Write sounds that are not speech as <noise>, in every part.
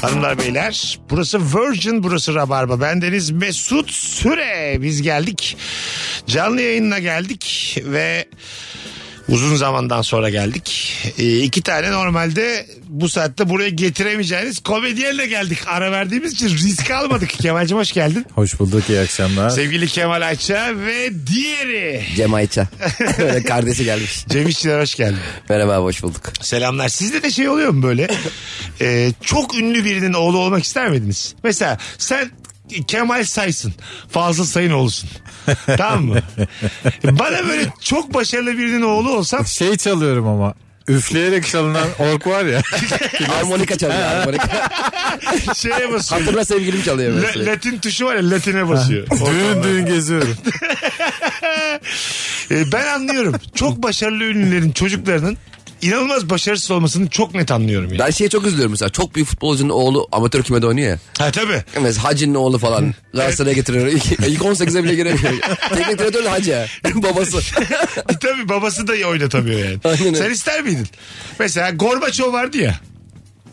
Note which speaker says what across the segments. Speaker 1: Hanımlar beyler burası Virgin burası Rabarba. Bendeniz Mesut Süre. Biz geldik. Canlı yayınına geldik ve uzun zamandan sonra geldik. Ee, iki tane normalde bu saatte buraya getiremeyeceğiniz komedyenle geldik. Ara verdiğimiz için risk almadık. Kemal'cim hoş geldin.
Speaker 2: Hoş bulduk iyi akşamlar.
Speaker 1: Sevgili Kemal Ayça ve diğeri
Speaker 3: Cem Ayça. Böyle kardeşi gelmiş.
Speaker 1: Cem İşçiler hoş geldin.
Speaker 3: Merhaba hoş bulduk.
Speaker 1: Selamlar. Sizde de şey oluyor mu böyle? Ee, çok ünlü birinin oğlu olmak ister miydiniz? Mesela sen Kemal Saysın. Fazıl Sayın oğlusun. tamam mı? Bana böyle çok başarılı birinin oğlu olsam
Speaker 2: Şey çalıyorum ama üfleyerek çalınan ork
Speaker 1: <laughs>
Speaker 2: var ya.
Speaker 3: Harmonika çalıyor. Harmonika.
Speaker 1: şeye basıyor.
Speaker 3: Hatırla sevgilim çalıyor
Speaker 1: La-
Speaker 3: böyle.
Speaker 1: Latin tuşu var ya Latin'e basıyor.
Speaker 2: düğün düğün geziyorum.
Speaker 1: Ee, ben anlıyorum. Çok başarılı ünlülerin çocuklarının inanılmaz başarısız olmasını çok net anlıyorum. Yani.
Speaker 3: Ben şeye çok üzülüyorum mesela. Çok büyük futbolcunun oğlu amatör kümede oynuyor ya.
Speaker 1: Ha tabii.
Speaker 3: Mesela Hacı'nın oğlu falan. Galatasaray'a getiriyor. İlk, ilk 18'e bile giremiyor. Teknik direktörle Hacı ya. Babası.
Speaker 1: E, Tabii babası da oynatamıyor yani.
Speaker 3: <laughs> Aynen öyle.
Speaker 1: Sen ister miydin? Mesela Gorbaçov vardı ya.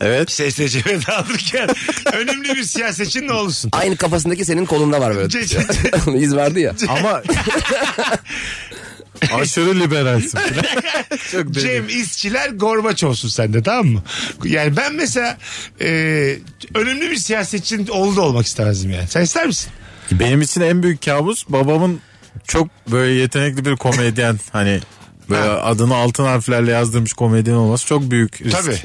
Speaker 3: Evet.
Speaker 1: SSCB'ye dağılırken
Speaker 2: <laughs>
Speaker 1: önemli bir siyasetçinin oğlusun.
Speaker 3: Aynı kafasındaki senin kolunda var böyle.
Speaker 1: C- C-
Speaker 3: <laughs> İz vardı ya.
Speaker 2: ama aşırı liberalsin. Çok deli.
Speaker 1: Cem İşçiler Gorbaçov'sun sen de tamam mı? Yani ben mesela e, önemli bir siyasetçinin oğlu da olmak istemezdim yani. Sen ister misin?
Speaker 2: Benim için en büyük kabus babamın çok böyle yetenekli bir komedyen hani böyle adını altın harflerle yazdırmış komedyen olması çok büyük risk.
Speaker 1: Tabii.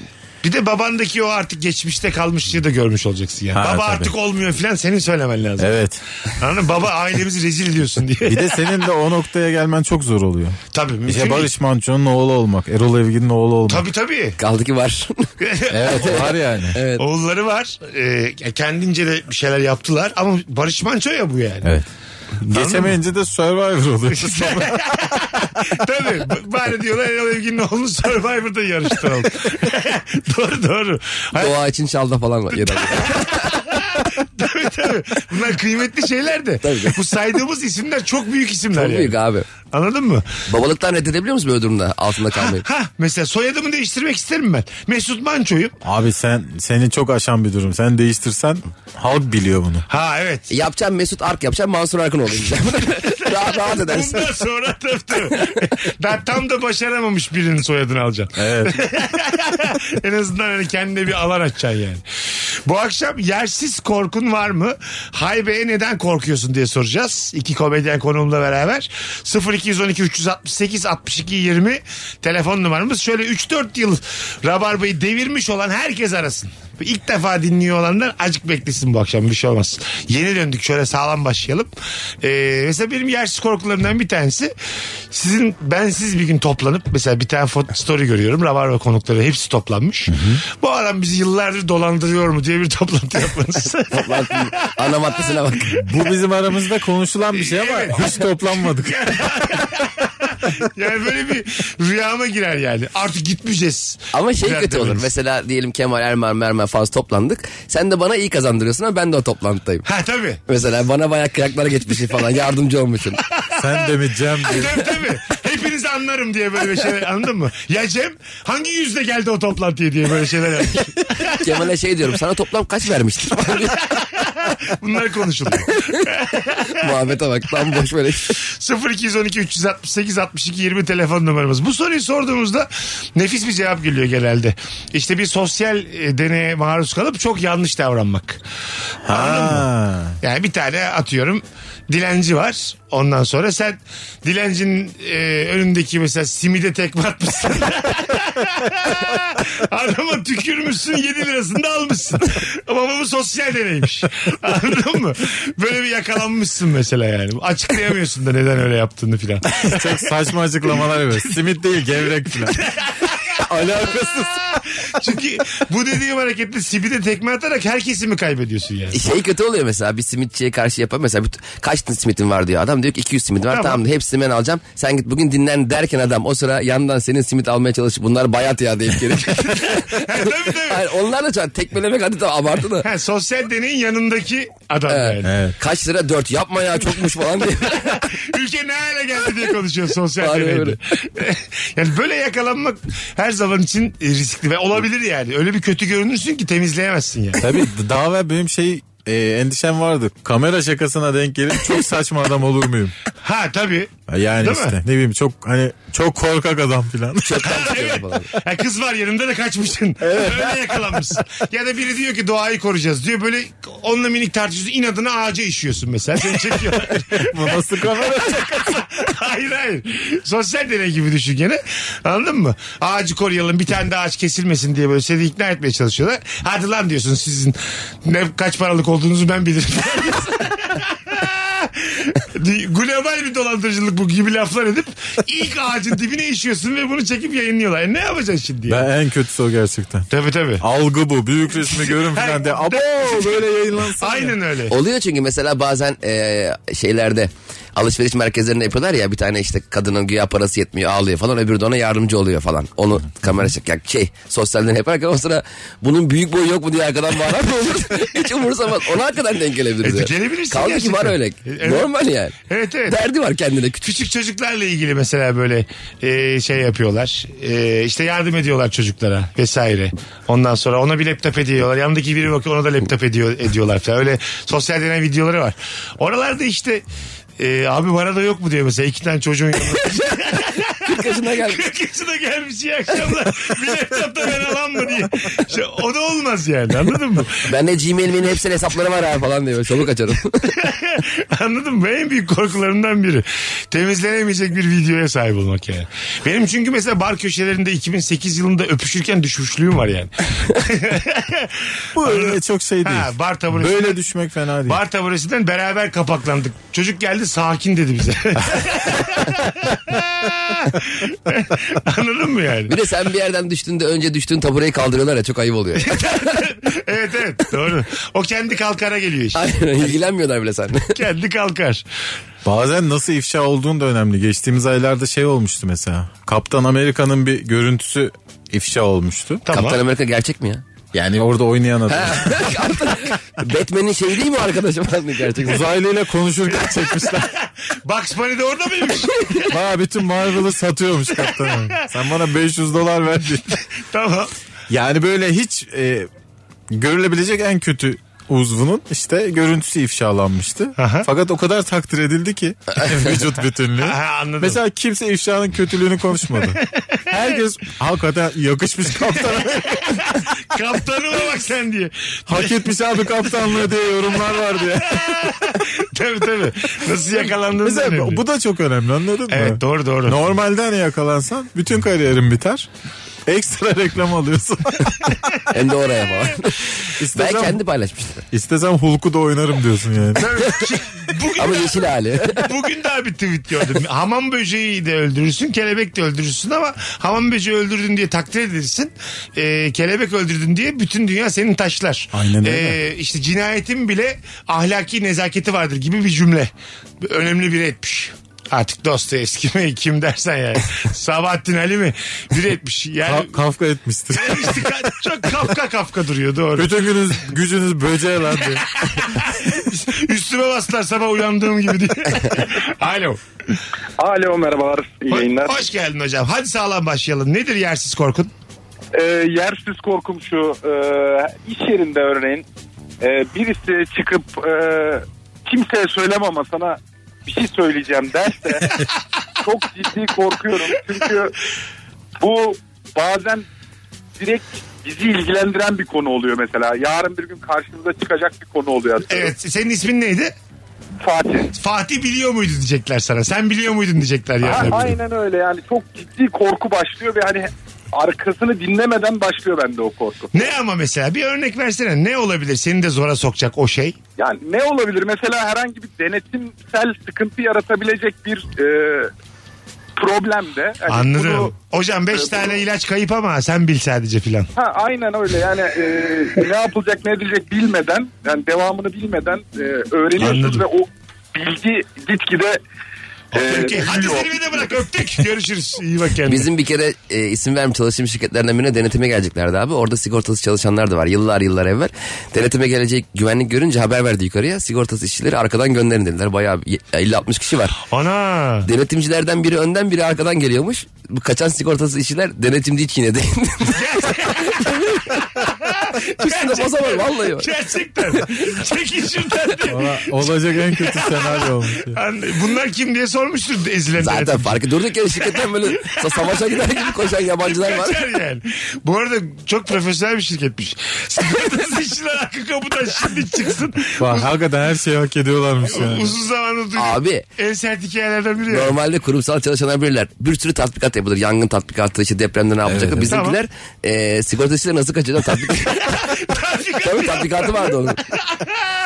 Speaker 1: Bir de babandaki o artık geçmişte kalmışlığı da görmüş olacaksın yani.
Speaker 2: Ha,
Speaker 1: Baba
Speaker 2: tabii.
Speaker 1: artık olmuyor filan senin söylemen lazım.
Speaker 2: Evet.
Speaker 1: Anladın mı? Baba ailemizi rezil ediyorsun diye.
Speaker 2: Bir de senin de o noktaya gelmen çok zor oluyor.
Speaker 1: tabii mümkün
Speaker 2: İşte
Speaker 1: değil.
Speaker 2: Barış Manço'nun oğlu olmak, Erol Evgin'in oğlu olmak.
Speaker 1: şey- Tabii tabii.
Speaker 3: Kaldı ki var.
Speaker 2: Evet var yani.
Speaker 3: evet.
Speaker 1: Oğulları var. E, kendince de bir şeyler yaptılar ama Barış Manço ya bu yani.
Speaker 2: Evet. Geçemeyince de Survivor oluyor.
Speaker 1: <laughs> Tabii. Bari diyorlar Erol Evgin'in oğlunu Survivor'da yarıştıralım. <laughs> doğru doğru. Hayır,
Speaker 3: Doğa için şalda falan var. yer alıyor.
Speaker 1: tabii, tabii. Bunlar kıymetli şeyler de.
Speaker 3: Tabii canım.
Speaker 1: Bu saydığımız isimler çok büyük isimler
Speaker 3: Çok
Speaker 1: yani.
Speaker 3: büyük abi.
Speaker 1: Anladın mı?
Speaker 3: Babalıktan reddedebiliyor musun böyle durumda?
Speaker 1: <laughs>
Speaker 3: Altında kalmayı.
Speaker 1: Ha mesela soyadımı değiştirmek isterim ben. Mesut Manço'yum.
Speaker 2: Abi sen seni çok aşan bir durum. Sen değiştirsen halk biliyor bunu.
Speaker 1: Ha evet.
Speaker 3: Yapacağım Mesut Ark yapacağım Mansur Arkın olur. rahat, rahat edersin.
Speaker 1: Bundan sonra tabii tabii. Daha tam da başaramamış birinin soyadını alacaksın.
Speaker 2: Evet.
Speaker 1: <laughs> en azından hani kendine bir alan açacaksın yani. Bu akşam yersiz korkun var mı? Haybe'ye neden korkuyorsun diye soracağız. İki komedyen konuğumla beraber. 0212 368 62 20 telefon numaramız. Şöyle 3-4 yıl Rabarba'yı devirmiş olan herkes arasın. İlk defa dinliyor olanlar acık beklesin bu akşam bir şey olmaz. Yeni döndük şöyle sağlam başlayalım. Ee, mesela benim yersiz korkularımdan bir tanesi sizin bensiz bir gün toplanıp mesela bir tane foto story görüyorum. Rabarba konukları hepsi toplanmış. Bu adam bizi yıllardır dolandırıyor mu diye bir
Speaker 3: <laughs>
Speaker 1: toplantı yapmanız.
Speaker 3: Lan, Ana maddesine bak.
Speaker 2: Bu bizim aramızda konuşulan bir şey ama
Speaker 1: Evet.
Speaker 2: hiç
Speaker 1: <laughs>
Speaker 2: toplanmadık.
Speaker 1: yani böyle bir rüyama girer yani. Artık gitmeyeceğiz.
Speaker 3: Ama şey
Speaker 1: Biraz
Speaker 3: kötü olur.
Speaker 1: demeniz.
Speaker 3: Mesela diyelim Kemal Erman, Mermer falan toplandık. Sen de bana iyi kazandırıyorsun ama ben de o toplantıdayım.
Speaker 1: Ha tabii.
Speaker 3: Mesela bana bayağı kıyaklara geçmişsin falan yardımcı olmuşsun.
Speaker 2: Sen de mi
Speaker 1: <laughs>
Speaker 2: Cem diye.
Speaker 1: Tabii tabii. Hepinizi anlarım diye böyle bir şeyler anladın mı? Ya Cem hangi yüzle geldi o toplantıya diye böyle şeyler yapmış.
Speaker 3: Kemal'e şey diyorum sana toplam kaç vermiştir? <laughs>
Speaker 1: Bunlar konuşuluyor.
Speaker 3: Muhabbete bak tam boş böyle.
Speaker 1: 0212 368 62 20 telefon numaramız. Bu soruyu sorduğumuzda nefis bir cevap geliyor genelde. İşte bir sosyal e, deneye maruz kalıp çok yanlış davranmak.
Speaker 2: Ha.
Speaker 1: Yani bir tane atıyorum dilenci var. Ondan sonra sen dilencinin e, önündeki mesela simide tekme atmışsın. Adama tükürmüşsün 7 lirasını da almışsın. Ama bu sosyal deneymiş. Anladın mı? Böyle bir yakalanmışsın mesela yani. Açıklayamıyorsun da neden öyle yaptığını filan. <laughs>
Speaker 2: Çok saçma açıklamalar yapıyor. Simit değil gevrek falan. Alakasız.
Speaker 1: Çünkü bu dediğim hareketle simide tekme atarak herkesi mi kaybediyorsun yani?
Speaker 3: Şey kötü oluyor mesela bir simitçiye karşı yapan mesela bir, kaç tane simitin var diyor adam diyor ki 200 simit var tamam,
Speaker 1: Tamam.
Speaker 3: hepsini ben alacağım sen git bugün dinlen derken adam o sıra yandan senin simit almaya çalışıp bunlar bayat ya deyip gelir. <laughs>
Speaker 1: <laughs> tabii tabii.
Speaker 3: Hayır onlar da çok tekmelemek hadi tamam abartı da.
Speaker 1: Ha, sosyal deneyin yanındaki adam yani.
Speaker 3: Kaç lira dört yapma ya çokmuş falan
Speaker 1: <laughs>
Speaker 3: diye.
Speaker 1: Ülke ne hale geldi diye konuşuyor sosyal
Speaker 3: Aynen
Speaker 1: deneyde. <laughs> yani böyle yakalanmak her zaman için e, riskli ve olabilir yani. Öyle bir kötü görünürsün ki temizleyemezsin yani.
Speaker 2: Tabii daha evvel benim şey e, endişem vardı. Kamera şakasına denk gelip çok saçma adam olur muyum?
Speaker 1: Ha tabii.
Speaker 2: Yani
Speaker 1: Değil mi?
Speaker 2: işte ne bileyim çok hani çok korkak adam <laughs> filan.
Speaker 1: Evet. Ha, kız var yanında da kaçmışsın. Öyle yakalanmışsın. Ya da biri diyor ki doğayı koruyacağız diyor. Böyle onunla minik tartışıyorsun. inadına ağaca işiyorsun mesela. Seni çekiyorlar.
Speaker 2: Bu nasıl kamera?
Speaker 1: <laughs> hayır hayır. Sosyal deney gibi düşün gene. Anladın mı? Ağacı koruyalım bir tane de ağaç kesilmesin diye böyle seni ikna etmeye çalışıyorlar. Hadi lan diyorsun sizin ne kaç paralık olduğunuzu ben bilirim. <laughs> Global bir dolandırıcılık bu gibi laflar edip ilk ağacın dibine işiyorsun ve bunu çekip yayınlıyorlar. E ne yapacaksın şimdi? ya?
Speaker 2: Ben en kötüsü o gerçekten.
Speaker 1: Tabii tabii.
Speaker 2: Algı bu. Büyük resmi
Speaker 1: <laughs>
Speaker 2: görün filan de. Abo böyle yayınlansın.
Speaker 1: Aynen öyle.
Speaker 3: Oluyor çünkü mesela bazen e, şeylerde alışveriş merkezlerinde yapıyorlar ya bir tane işte kadının güya parası yetmiyor ağlıyor falan öbürü de ona yardımcı oluyor falan. Onu kamera çek yani şey sosyalden yaparken o sıra bunun büyük boyu yok mu diye arkadan bağıran mı olur? <laughs> Hiç umursamaz. Ona arkadan denk gelebiliriz.
Speaker 1: E,
Speaker 3: yani.
Speaker 1: gelebilirsin
Speaker 3: Kaldı ki
Speaker 1: gerçekten. E,
Speaker 3: var öyle.
Speaker 1: Evet.
Speaker 3: Normal yani.
Speaker 1: Evet, evet.
Speaker 3: Derdi var kendine küçük.
Speaker 1: Küçük çocuklarla ilgili mesela böyle e, şey yapıyorlar. E, işte yardım ediyorlar çocuklara vesaire. Ondan sonra ona bir laptop hediye ediyorlar. Yanındaki biri bakıyor ona da laptop ediyor, ediyorlar falan. Öyle sosyal deney videoları var. Oralarda işte e, abi bana da yok mu diyor mesela iki tane çocuğun <laughs> yanında.
Speaker 3: Kaşına geldi.
Speaker 1: 40 yaşına gelmiş iyi akşamlar. Bir laptop da ben alan mı diye. İşte o da olmaz yani anladın mı?
Speaker 3: Ben de Gmail'imin hepsinin hesapları var abi falan diyor. Çabuk açarım. <laughs>
Speaker 1: <laughs> Anladın mı? En büyük korkularımdan biri. Temizlenemeyecek bir videoya sahip olmak yani. Benim çünkü mesela bar köşelerinde 2008 yılında öpüşürken düşmüşlüğüm var yani.
Speaker 2: <laughs> Bu öyle çok şey değil.
Speaker 1: Ha, bar taburesi.
Speaker 2: böyle düşmek fena değil.
Speaker 1: Bar taburesinden beraber kapaklandık. Çocuk geldi sakin dedi bize. <laughs> Anladın mı yani?
Speaker 3: bir de sen bir yerden düştüğünde önce düştüğün tabureyi kaldırıyorlar ya çok ayıp oluyor.
Speaker 1: Evet evet doğru. O kendi kalkara geliyor işte.
Speaker 3: Aynen ilgilenmiyorlar bile sen.
Speaker 1: Kendi kalkar.
Speaker 2: Bazen nasıl ifşa olduğun da önemli. Geçtiğimiz aylarda şey olmuştu mesela. Kaptan Amerika'nın bir görüntüsü ifşa olmuştu.
Speaker 1: Tamam.
Speaker 3: Kaptan Amerika gerçek mi ya?
Speaker 2: Yani orada oynayan adam.
Speaker 3: Batman'in şeyi değil mi arkadaşım? Gerçekten.
Speaker 2: Uzaylıyla konuşurken
Speaker 1: <laughs>
Speaker 2: çekmişler.
Speaker 1: Bugs Bunny de orada mıymış?
Speaker 2: Baya bütün Marvel'ı satıyormuş kaptan Amerika. Sen bana 500 dolar verdin.
Speaker 1: tamam.
Speaker 2: Yani böyle hiç e, görülebilecek en kötü uzvunun işte görüntüsü ifşalanmıştı.
Speaker 1: Aha.
Speaker 2: Fakat o kadar takdir
Speaker 1: <laughs>
Speaker 2: edildi ki vücut bütünlüğü.
Speaker 1: Aha, anladım.
Speaker 2: Mesela kimse ifşanın kötülüğünü konuşmadı. Herkes hakikaten yakışmış kaptana.
Speaker 1: Kaptanıma bak sen diye. <laughs>
Speaker 2: Hak etmiş abi kaptanlığı diye yorumlar vardı ya.
Speaker 1: tabii tabii. Nasıl yakalandığını da önemli.
Speaker 2: Mesela bu da çok önemli anladın mı?
Speaker 1: Evet doğru doğru.
Speaker 2: Normalde hani yakalansan bütün kariyerin biter. Ekstra
Speaker 1: <laughs>
Speaker 2: reklam alıyorsun.
Speaker 3: Hem de oraya falan. ben
Speaker 2: istesem,
Speaker 3: kendi paylaşmıştım.
Speaker 2: istesem Hulk'u da oynarım diyorsun yani.
Speaker 1: Bugün,
Speaker 3: Ama yeşil hali.
Speaker 1: bugün daha bir tweet gördüm. Hamam böceği de öldürürsün, kelebek de öldürürsün ama hamam böceği öldürdün diye takdir edilirsin. Ee, kelebek öldürdün diye bütün dünya senin taşlar. E,
Speaker 2: Aynen öyle.
Speaker 1: işte cinayetin bile ahlaki nezaketi vardır gibi bir cümle. Önemli bir etmiş. Artık Dostoyevski mi kim dersen yani. Sabahattin Ali mi? Biri etmiş. Yani
Speaker 2: Ka- Kafka etmiştir. <laughs>
Speaker 1: işte ka- çok kafka kafka duruyor doğru.
Speaker 2: Bütün gününüz, gücünüz böceğe lan diye.
Speaker 1: Üstüme bastılar sabah uyandığım gibi
Speaker 3: <laughs>
Speaker 1: diye. Alo.
Speaker 4: Alo merhabalar iyi
Speaker 1: Ho-
Speaker 4: yayınlar.
Speaker 1: Hoş geldin hocam. Hadi sağlam başlayalım. Nedir yersiz korkun?
Speaker 4: Ee, yersiz korkum şu e, iş yerinde örneğin e, birisi çıkıp e, kimseye söyleme ama sana bir şey söyleyeceğim derse çok ciddi korkuyorum. Çünkü bu bazen direkt bizi ilgilendiren bir konu oluyor mesela. Yarın bir gün karşımıza çıkacak bir konu oluyor. aslında.
Speaker 1: Evet senin ismin neydi?
Speaker 4: Fatih.
Speaker 1: Fatih biliyor muydu diyecekler sana. Sen biliyor muydun diyecekler
Speaker 4: Ha,
Speaker 1: yani.
Speaker 4: aynen öyle yani çok ciddi korku başlıyor ve hani arkasını dinlemeden başlıyor bende o korku.
Speaker 1: Ne ama mesela bir örnek versene ne olabilir seni de zora sokacak o şey?
Speaker 4: Yani ne olabilir? Mesela herhangi bir denetimsel sıkıntı yaratabilecek bir e, problem de. Hani bunu-
Speaker 1: Anladım. Hocam 5 tane ilaç kayıp ama sen bil sadece filan.
Speaker 4: Ha aynen öyle yani e, ne yapılacak ne edilecek bilmeden yani devamını bilmeden e, öğreniyorsunuz
Speaker 1: Anladım.
Speaker 4: ve o bilgi gitgide e,
Speaker 1: Peki hadi
Speaker 4: büyüyor.
Speaker 1: seni bir de bırak öptük. Görüşürüz. İyi bak kendine.
Speaker 3: Bizim bir kere e, isim vermeyeyim çalıştığım şirketlerinden birine denetime geleceklerdi abi. Orada sigortası çalışanlar da var yıllar yıllar evvel. Denetime gelecek güvenlik görünce haber verdi yukarıya. Sigortası işçileri arkadan gönderin dediler. Bayağı bir- 50-60 kişi var.
Speaker 1: Ana.
Speaker 3: Denetimcilerden biri önden biri arkadan geliyormuş. Bu kaçan sigortası işçiler denetimci hiç yine değil.
Speaker 1: Gerçekten.
Speaker 3: o zaman vallahi. bak. <laughs>
Speaker 1: Gerçekten. Çekil şuradan diye.
Speaker 2: Valla Olacak en kötü senaryo olmuş. ya.
Speaker 1: Anladım. Bunlar kim diye sormuştur ezilen
Speaker 3: Zaten
Speaker 1: denetim.
Speaker 3: farkı durduk yere şirketten böyle sa- savaşa gider gibi koşan yabancılar var.
Speaker 1: Kaçar yani. Bu arada çok profesyonel bir şirketmiş. <laughs> Sigortasız işçiler hakkı kapıdan şimdi çıksın.
Speaker 2: Bak hakikaten her şeyi hak ediyorlarmış yani.
Speaker 1: Uzun zamandır duydum.
Speaker 3: Abi
Speaker 1: En sert hikayelerden biri. ya.
Speaker 3: Normalde kurumsal çalışanlar bilirler. Bir sürü tatbikat yapılır. Yangın tatbikatı, işte depremde ne yapacak. Bizimkiler e, sigortasıyla nasıl kaçacak tatbikat. Tabii tatbikatı vardı onun.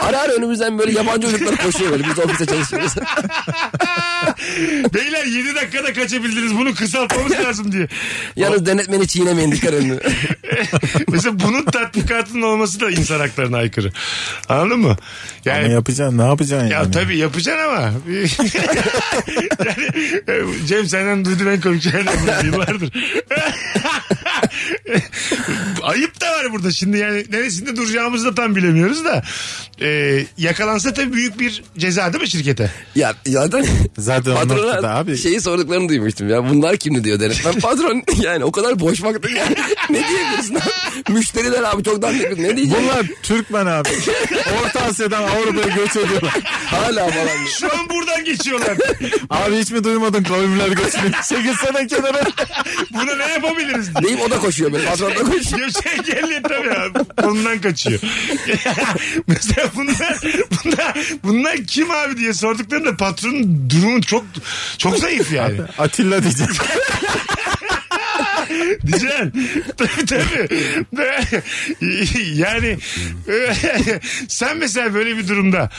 Speaker 3: Ara ara önümüzden böyle yabancı çocuklar koşuyor böyle. Biz ofiste çalışıyoruz.
Speaker 1: Beyler 7 dakikada kaçabildiniz bunu kısaltmamız lazım diye.
Speaker 3: Yalnız denetmeni çiğnemeyin dikkat edin.
Speaker 1: Mesela bunun tatbikatının olması da insan haklarına aykırı. Anladın mı?
Speaker 2: Ama
Speaker 1: Yani
Speaker 2: yapacaksın ne yapacaksın
Speaker 1: ya
Speaker 2: yani?
Speaker 1: tabii yapacaksın ama. <laughs> yani, e, Cem senden duyduğum en komik şeylerden biri <laughs> yıllardır. <laughs> Ayıp da var burada şimdi yani neresinde duracağımızı da tam bilemiyoruz da. E, yakalansa tabii büyük bir ceza değil mi şirkete?
Speaker 3: <laughs> ya zaten
Speaker 2: Zaten o noktada
Speaker 3: patrona
Speaker 2: abi.
Speaker 1: şey-
Speaker 3: şeyi sorduklarını duymuştum ya. Bunlar kimdi diyor denetmen. Patron <laughs> yani o kadar boş vakti yani. <laughs> ne diyebilirsin abi? Müşteriler abi çoktan ne diyecek?
Speaker 2: Bunlar
Speaker 1: <laughs>
Speaker 2: Türkmen abi. Orta Asya'dan Avrupa'ya göç ediyorlar.
Speaker 3: hala falan.
Speaker 1: Şu an buradan geçiyorlar. <laughs>
Speaker 2: Abi hiç mi duymadın kavimler <laughs> göçünü? Çekilsene kenara.
Speaker 1: Buna ne yapabiliriz?
Speaker 3: Deyip o da koşuyor böyle. Patron da koşuyor.
Speaker 1: Göçek geldi tabii abi. Ondan kaçıyor. <laughs> Mesela bunlar, bunlar, bunlar kim abi diye sorduklarında patronun durumu çok çok zayıf yani.
Speaker 2: Atilla diyeceğim.
Speaker 1: Diyeceksin. <laughs> Tabii tabii. <laughs> yani <laughs> sen mesela böyle bir durumda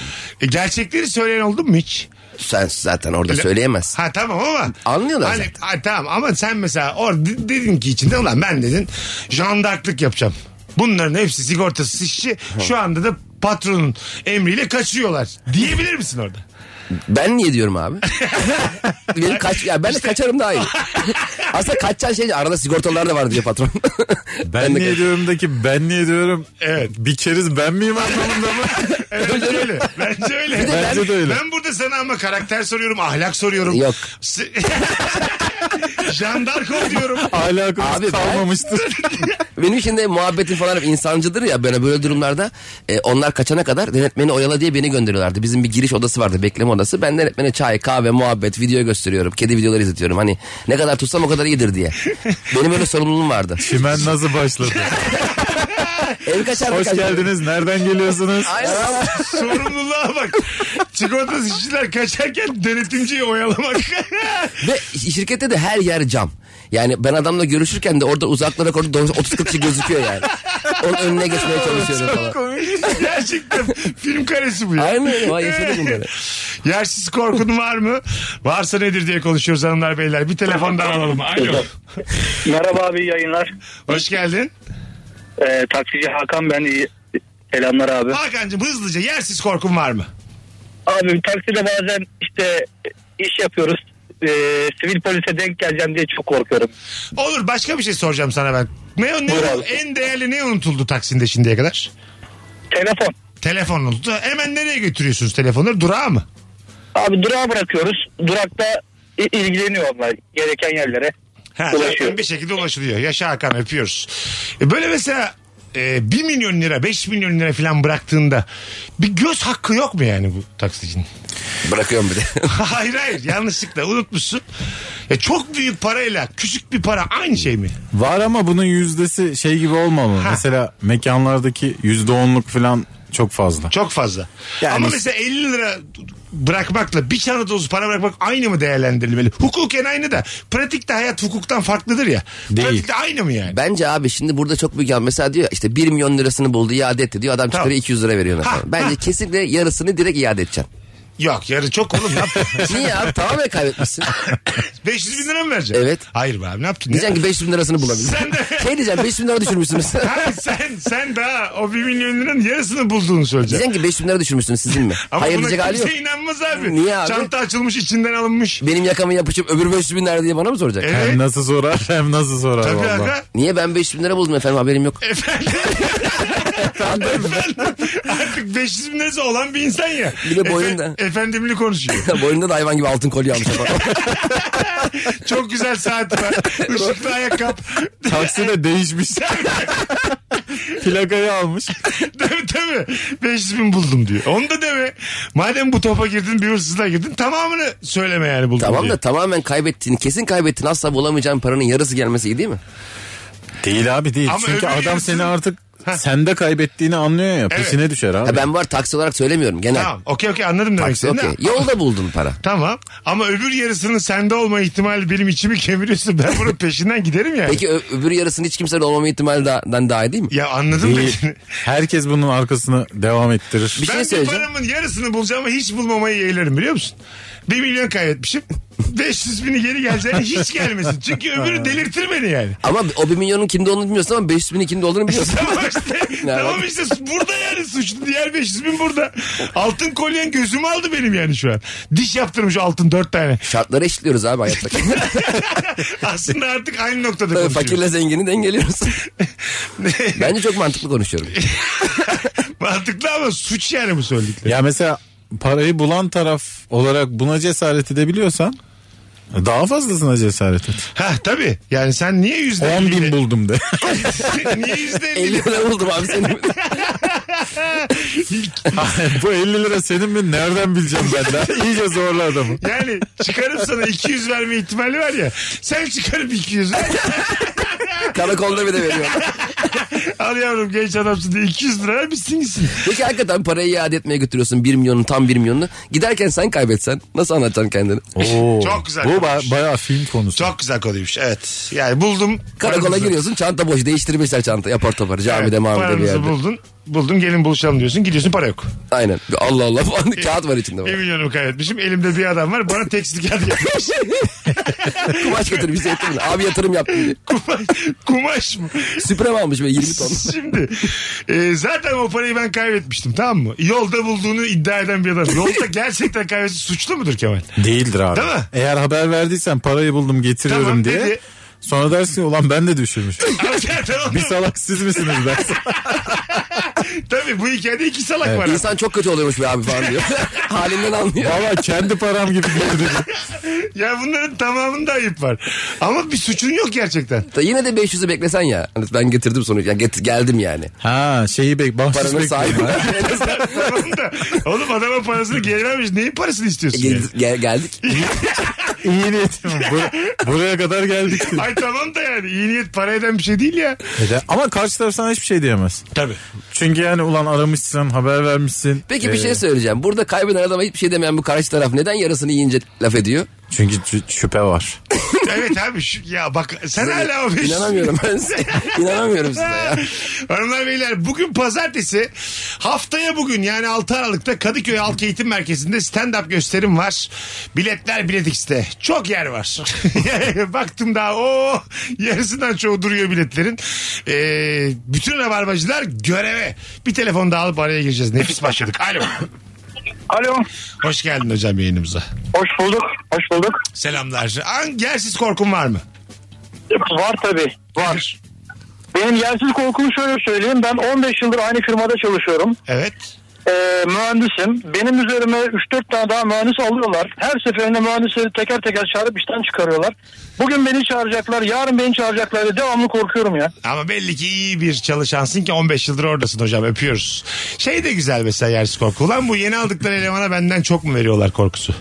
Speaker 1: e, gerçekleri söyleyen oldun mu hiç?
Speaker 3: Sen zaten orada söyleyemezsin.
Speaker 1: Ha tamam ama.
Speaker 3: Anlıyorlar
Speaker 1: Hani, ha, tamam ama sen mesela orada de- dedin ki içinde ulan ben dedin jandarklık yapacağım. Bunların hepsi sigortasız işçi şu anda da patronun emriyle kaçıyorlar. Diyebilir misin orada?
Speaker 3: Ben niye diyorum abi?
Speaker 2: <laughs>
Speaker 3: Benim kaç, ya ben de kaçarım daha iyi. Aslında kaçacağın şey arada sigortalar da var diyor patron.
Speaker 2: Ben niye diyorumdaki ben niye diyorum?
Speaker 1: Evet.
Speaker 2: Bir keriz ben miyim anlamında <laughs> mı?
Speaker 1: Evet öyle. Bence öyle.
Speaker 3: de
Speaker 2: Bence de öyle.
Speaker 1: Ben burada sana ama karakter soruyorum, ahlak soruyorum.
Speaker 3: Yok.
Speaker 1: S- <laughs> Jandarko diyorum.
Speaker 3: Abi ben-
Speaker 2: Alakası kalmamıştır.
Speaker 3: Benim için de muhabbetin falan hep insancıdır ya böyle böyle durumlarda e, onlar kaçana kadar denetmeni oyala diye beni gönderiyorlardı. Bizim bir giriş odası vardı bekleme odası. Ben denetmene çay, kahve, muhabbet, video gösteriyorum. Kedi videoları izletiyorum. Hani ne kadar tutsam o kadar iyidir diye. Benim öyle sorumluluğum vardı.
Speaker 2: Kimen nasıl başladı? <laughs>
Speaker 3: Ev kaçar
Speaker 2: Hoş geldiniz. Nereden geliyorsunuz?
Speaker 3: Aynen.
Speaker 1: Sorumluluğa bak. Çikolatası işçiler kaçarken denetimciyi oyalamak.
Speaker 3: Ve şirkette de her yer cam. Yani ben adamla görüşürken de orada uzaklara koydu 30-40 kişi gözüküyor yani. Onun önüne geçmeye çalışıyorum falan.
Speaker 1: Gerçekten film karesi bu ya.
Speaker 3: Aynen öyle. Vay yaşadım bunları.
Speaker 1: Yersiz korkun var mı? Varsa nedir diye konuşuyoruz hanımlar beyler. Bir telefon daha alalım. Alo.
Speaker 5: Merhaba abi iyi yayınlar.
Speaker 1: Hoş geldin.
Speaker 5: Ee, taksici Hakan ben iyi. Selamlar abi.
Speaker 1: Hakan'cığım hızlıca yersiz korkun var mı?
Speaker 5: Abi takside bazen işte iş yapıyoruz. Ee, sivil polise denk geleceğim diye çok korkuyorum.
Speaker 1: Olur başka bir şey soracağım sana ben. Ne, ne-
Speaker 5: Buyur abi.
Speaker 1: en değerli ne unutuldu Taksim'de şimdiye kadar?
Speaker 5: Telefon.
Speaker 1: Telefon unutuldu. Hemen nereye götürüyorsunuz telefonları? Durağa mı?
Speaker 5: Abi durağa bırakıyoruz. Durakta i- ilgileniyor onlar gereken yerlere.
Speaker 1: Ha,
Speaker 5: Ulaşıyor.
Speaker 1: zaten bir şekilde ulaşılıyor. Yaşa Hakan öpüyoruz. E, böyle mesela e, 1 milyon lira 5 milyon lira falan bıraktığında bir göz hakkı yok mu yani bu taksicinin? <laughs>
Speaker 3: Bırakıyorum bir de.
Speaker 1: hayır hayır yanlışlıkla unutmuşsun. Ya çok büyük parayla küçük bir para aynı şey mi?
Speaker 2: Var ama bunun yüzdesi şey gibi olmamalı.
Speaker 1: Ha.
Speaker 2: Mesela mekanlardaki yüzde onluk falan çok fazla.
Speaker 1: Çok fazla.
Speaker 2: Yani-
Speaker 1: Ama mesela 50 lira bırakmakla bir çanta dolusu para bırakmak aynı mı değerlendirilmeli? Hukuken aynı da pratikte hayat hukuktan farklıdır ya.
Speaker 2: Değil.
Speaker 1: Pratikte aynı mı yani?
Speaker 3: Bence abi şimdi burada çok büyük yanlış. Mesela diyor ya, işte 1 milyon lirasını buldu iade etti diyor. Adam çıkarıyor
Speaker 1: Tamam.
Speaker 3: 200 lira veriyor. ona
Speaker 1: Ha,
Speaker 3: falan. Bence
Speaker 1: ha.
Speaker 3: kesinlikle yarısını direkt iade edeceksin.
Speaker 1: Yok yarı çok oğlum ne yaptın? <laughs>
Speaker 3: Niye abi tamamen kaybetmişsin.
Speaker 1: 500 bin lira mı vereceksin?
Speaker 3: Evet.
Speaker 1: Hayır be abi ne yaptın?
Speaker 3: Diyeceksin
Speaker 1: Ya?
Speaker 3: ki 500 bin lirasını bulabilir.
Speaker 1: Sen de-
Speaker 3: <laughs> Şey diyeceğim 500 bin lira düşürmüşsünüz.
Speaker 1: Ha, sen, sen daha o 1 milyon liranın yarısını bulduğunu söyleyeceksin.
Speaker 3: diyeceksin ki 500 bin lira düşürmüşsünüz sizin mi?
Speaker 1: Ama
Speaker 3: Hayır
Speaker 1: buna
Speaker 3: diyecek hali yok.
Speaker 1: kimse inanmaz abi.
Speaker 3: Niye abi?
Speaker 1: Çanta açılmış içinden alınmış.
Speaker 3: Benim yakamı yapışıp öbür 500 bin lira diye bana mı soracak?
Speaker 1: Evet.
Speaker 2: Hem nasıl sorar hem nasıl sorar
Speaker 1: Tabii
Speaker 2: vallahi.
Speaker 1: aga.
Speaker 3: Niye ben 500 bin lira buldum efendim
Speaker 1: <laughs>
Speaker 3: haberim yok. <laughs>
Speaker 1: Artık 500 bin lirası olan bir insan ya.
Speaker 3: Bir de boyunda.
Speaker 1: Efe- efendimli konuşuyor.
Speaker 3: Boynunda da hayvan gibi altın kolye almış adam.
Speaker 1: <laughs> Çok güzel saat
Speaker 3: <laughs>
Speaker 1: var. Işıklı ayakkabı. <laughs>
Speaker 2: Taksi de <laughs> değişmiş. Plakayı almış.
Speaker 1: Tabii tabii. 500 bin buldum diyor. Onu da deme. Madem bu topa girdin bir hırsızla girdin tamamını söyleme yani buldum
Speaker 3: tamam
Speaker 1: diyor.
Speaker 3: da tamamen kaybettiğin kesin kaybettiğin asla bulamayacağın paranın yarısı gelmesi iyi değil mi?
Speaker 2: Değil abi değil.
Speaker 1: Ama öbür
Speaker 2: Çünkü adam
Speaker 1: yarısını-
Speaker 2: seni artık sende kaybettiğini anlıyor ya. Peşine düşer abi.
Speaker 3: Ha, E ben var taksi olarak söylemiyorum genel.
Speaker 1: Tamam okey okey anladım demek
Speaker 3: Taksi
Speaker 1: istediğini.
Speaker 3: okey. Yolda buldun para.
Speaker 1: Tamam ama öbür yarısının sende olma ihtimali benim içimi kemiriyorsun. Ben bunun peşinden giderim yani.
Speaker 3: Peki ö- öbür yarısının hiç kimsenin olmama ihtimali da- dan daha iyi değil mi?
Speaker 1: Ya anladım
Speaker 2: Değil.
Speaker 1: ben.
Speaker 2: Herkes bunun arkasını devam ettirir.
Speaker 3: Bir Ee, şey
Speaker 1: ben de
Speaker 3: söyleyeceğim.
Speaker 1: paramın yarısını bulacağım ama hiç bulmamayı yeğlerim biliyor musun? 1 milyon kaybetmişim. <laughs> 500 bini geri geleceğine hiç gelmesin. Çünkü öbürü delirtir beni
Speaker 3: <laughs>
Speaker 1: yani.
Speaker 3: Ama o bir milyonun kimde olduğunu bilmiyorsun ama 500 binin kimde olduğunu biliyorsun.
Speaker 1: <laughs> Tamam işte. tamam işte burada yani suçlu. Diğer 500 bin burada. Altın kolyen gözümü aldı benim yani şu an. Diş yaptırmış altın dört tane.
Speaker 3: Şartları eşitliyoruz abi hayatta.
Speaker 1: Aslında artık aynı noktada
Speaker 3: Tabii
Speaker 1: konuşuyoruz.
Speaker 3: fakirle zengini dengeliyoruz. Bence çok mantıklı konuşuyorum.
Speaker 1: <laughs> Mantıklı ama suç yani bu söyledikleri.
Speaker 2: Ya mesela parayı bulan taraf olarak buna cesaret edebiliyorsan daha fazlasına cesaret et.
Speaker 1: Ha tabii. Yani sen niye yüzde
Speaker 2: 10
Speaker 1: elliyle-
Speaker 2: bin buldum de.
Speaker 1: <laughs>
Speaker 2: <laughs>
Speaker 1: niye yüzde
Speaker 3: 50
Speaker 1: elliyle-
Speaker 3: lira buldum abi senin.
Speaker 2: Bu 50 lira senin mi? Nereden bileceğim ben
Speaker 1: <laughs>
Speaker 2: de? İyice zorla adamı.
Speaker 1: Yani çıkarıp sana 200 verme ihtimali var ya. Sen çıkarıp 200 ver.
Speaker 3: Karakolda bir de veriyorum.
Speaker 1: Al yavrum genç adamsın diye 200 lira ver bitsin gitsin.
Speaker 3: Peki hakikaten parayı iade etmeye götürüyorsun 1 milyonun tam 1 milyonunu. Giderken sen kaybetsen nasıl anlatacaksın kendini?
Speaker 2: Oo.
Speaker 1: Çok güzel
Speaker 2: Bu
Speaker 1: konuşmuş.
Speaker 2: ba- bayağı film konusu.
Speaker 1: Çok güzel konuymuş evet. Yani buldum.
Speaker 3: Karakola
Speaker 1: paranızı.
Speaker 3: giriyorsun çanta boş değiştirmişler çanta yapar topar camide
Speaker 1: Evet,
Speaker 3: mavide bir
Speaker 1: paranızı
Speaker 3: yerde.
Speaker 1: buldun. Buldum gelin buluşalım diyorsun. Gidiyorsun para yok.
Speaker 3: Aynen Allah Allah falan kağıt var içinde.
Speaker 1: Bir
Speaker 3: bak.
Speaker 1: milyonumu kaybetmişim. Elimde bir adam var. Bana tekstil kağıdı yapmış.
Speaker 3: <laughs> Kumaş getir bize ettim. Abi yatırım yaptım diye.
Speaker 1: kumaş, kumaş mı?
Speaker 3: Süprem almış böyle 20 ton.
Speaker 1: Şimdi e, zaten o parayı ben kaybetmiştim tamam mı? Yolda bulduğunu iddia eden bir adam. Yolda gerçekten kaybetse suçlu mudur Kemal?
Speaker 2: Değildir abi.
Speaker 1: Değil mi?
Speaker 2: Eğer haber verdiysen parayı buldum getiriyorum
Speaker 1: Tamam,
Speaker 2: diye.
Speaker 1: dedi.
Speaker 2: Sonra dersin ki, ulan ben
Speaker 1: <laughs>
Speaker 2: de düşürmüşüm.
Speaker 1: Ama zaten oğlum,
Speaker 2: Bir salak siz misiniz dersin.
Speaker 1: Tabii bu hikayede iki salak var.
Speaker 3: İnsan çok kötü oluyormuş be abi falan diyor. Halinden anlıyor.
Speaker 2: Valla kendi param gibi girdim.
Speaker 1: Ya bunların tamamında ayıp var. Ama bir suçun yok gerçekten.
Speaker 3: Da yine de 500'ü beklesen ya. Hani Ben getirdim sonuç. Ya getir, geldim yani.
Speaker 2: Ha şeyi bek bahşiş
Speaker 3: Paranın
Speaker 2: bekliyorum.
Speaker 3: sahibi.
Speaker 1: Tamam da oğlum adama parasını geri vermiş. Neyin parasını istiyorsun? yani?
Speaker 3: <laughs> Gel, gel- geldik.
Speaker 2: İyi niyetim. Bur- buraya kadar geldik.
Speaker 1: Ay tamam da yani iyi niyet para eden bir şey değil ya.
Speaker 2: Ede- Ama karşı taraf sana hiçbir şey diyemez.
Speaker 1: Tabii.
Speaker 2: Çünkü yani ulan aramışsın, haber vermişsin.
Speaker 3: Peki bir
Speaker 2: Ee,
Speaker 3: şey söyleyeceğim. Burada kaybeden adama hiçbir şey demeyen bu karşı taraf neden yarısını yiyince laf ediyor?
Speaker 2: Çünkü şü- şüphe var.
Speaker 1: Evet abi şu- ya bak sen hala o beş-
Speaker 3: İnanamıyorum ben size. İnanamıyorum size
Speaker 1: <laughs>
Speaker 3: ya.
Speaker 1: Hanımlar beyler bugün pazartesi haftaya bugün yani 6 Aralık'ta Kadıköy Halk Eğitim Merkezi'nde stand-up gösterim var. Biletler Bilet X'te. Çok yer var. <laughs> Baktım daha o yarısından çoğu duruyor biletlerin. Ee, bütün rabarbacılar göreve. Bir telefon daha alıp araya gireceğiz. <laughs> Nefis başladık. Alo.
Speaker 5: Alo.
Speaker 1: Hoş geldin hocam yayınımıza.
Speaker 5: Hoş bulduk. Hoş bulduk.
Speaker 1: Selamlar. An, yersiz korkun var mı?
Speaker 5: Var tabii.
Speaker 1: Var.
Speaker 5: Benim yersiz korkumu şöyle söyleyeyim. Ben 15 yıldır aynı firmada çalışıyorum.
Speaker 1: Evet.
Speaker 5: Ee, mühendisim. Benim üzerime 3-4 tane daha mühendis alıyorlar. Her seferinde mühendisleri teker teker çağırıp işten çıkarıyorlar. Bugün beni çağıracaklar, yarın beni çağıracaklar diye devamlı korkuyorum ya.
Speaker 1: Ama belli ki iyi bir çalışansın ki 15 yıldır oradasın hocam öpüyoruz. Şey de güzel mesela yersiz korku. Ulan bu yeni aldıkları elemana benden çok mu veriyorlar korkusu?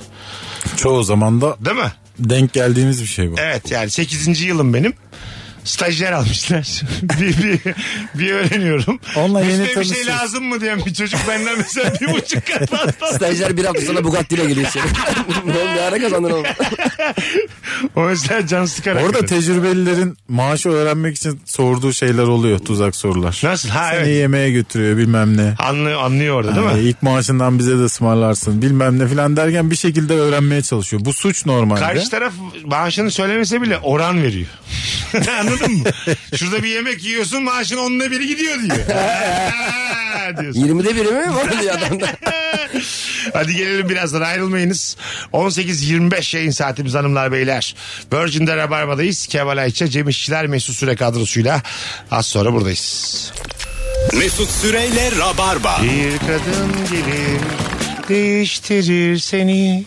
Speaker 2: Çoğu zaman da
Speaker 1: Değil mi?
Speaker 2: denk geldiğimiz bir şey bu.
Speaker 1: Evet yani 8. yılım benim. Stajyer almışlar. <laughs> bir, bir, bir öğreniyorum.
Speaker 2: Onunla yeni
Speaker 1: Üstüne bir şey
Speaker 2: tanışıyoruz.
Speaker 1: lazım mı diyen bir çocuk benden mesela bir buçuk kat
Speaker 2: <laughs>
Speaker 1: fazla.
Speaker 3: Stajyer bir hafta sonra Bugatti ile geliyor içeri. <laughs> ne oldu ne ara kazandın oğlum?
Speaker 1: O mesela can sıkarak.
Speaker 2: Orada
Speaker 1: öğreniyor.
Speaker 2: tecrübelilerin maaşı öğrenmek için sorduğu şeyler oluyor tuzak sorular.
Speaker 1: Nasıl? Ha
Speaker 2: Seni
Speaker 1: evet.
Speaker 2: yemeğe götürüyor bilmem ne.
Speaker 1: Anlıyor, anlıyor orada değil mi?
Speaker 2: Hani ilk maaşından bize de ısmarlarsın bilmem ne filan derken bir şekilde öğrenmeye çalışıyor. Bu suç normalde.
Speaker 1: Karşı taraf maaşını söylemese bile oran veriyor. <laughs> Anladın mı? Şurada bir yemek yiyorsun maaşın onda biri gidiyor diyor. <laughs> diyorsun. <laughs>
Speaker 3: 20'de biri mi var diyor adam da.
Speaker 1: Hadi gelelim birazdan ayrılmayınız. 18.25 yayın saatimiz hanımlar beyler. Virgin'de Rabarba'dayız. Kemal Ayça, Cem İşçiler, Mesut Süre kadrosuyla az sonra buradayız.
Speaker 6: Mesut Süreyle Rabarba.
Speaker 1: Bir kadın gelir değiştirir seni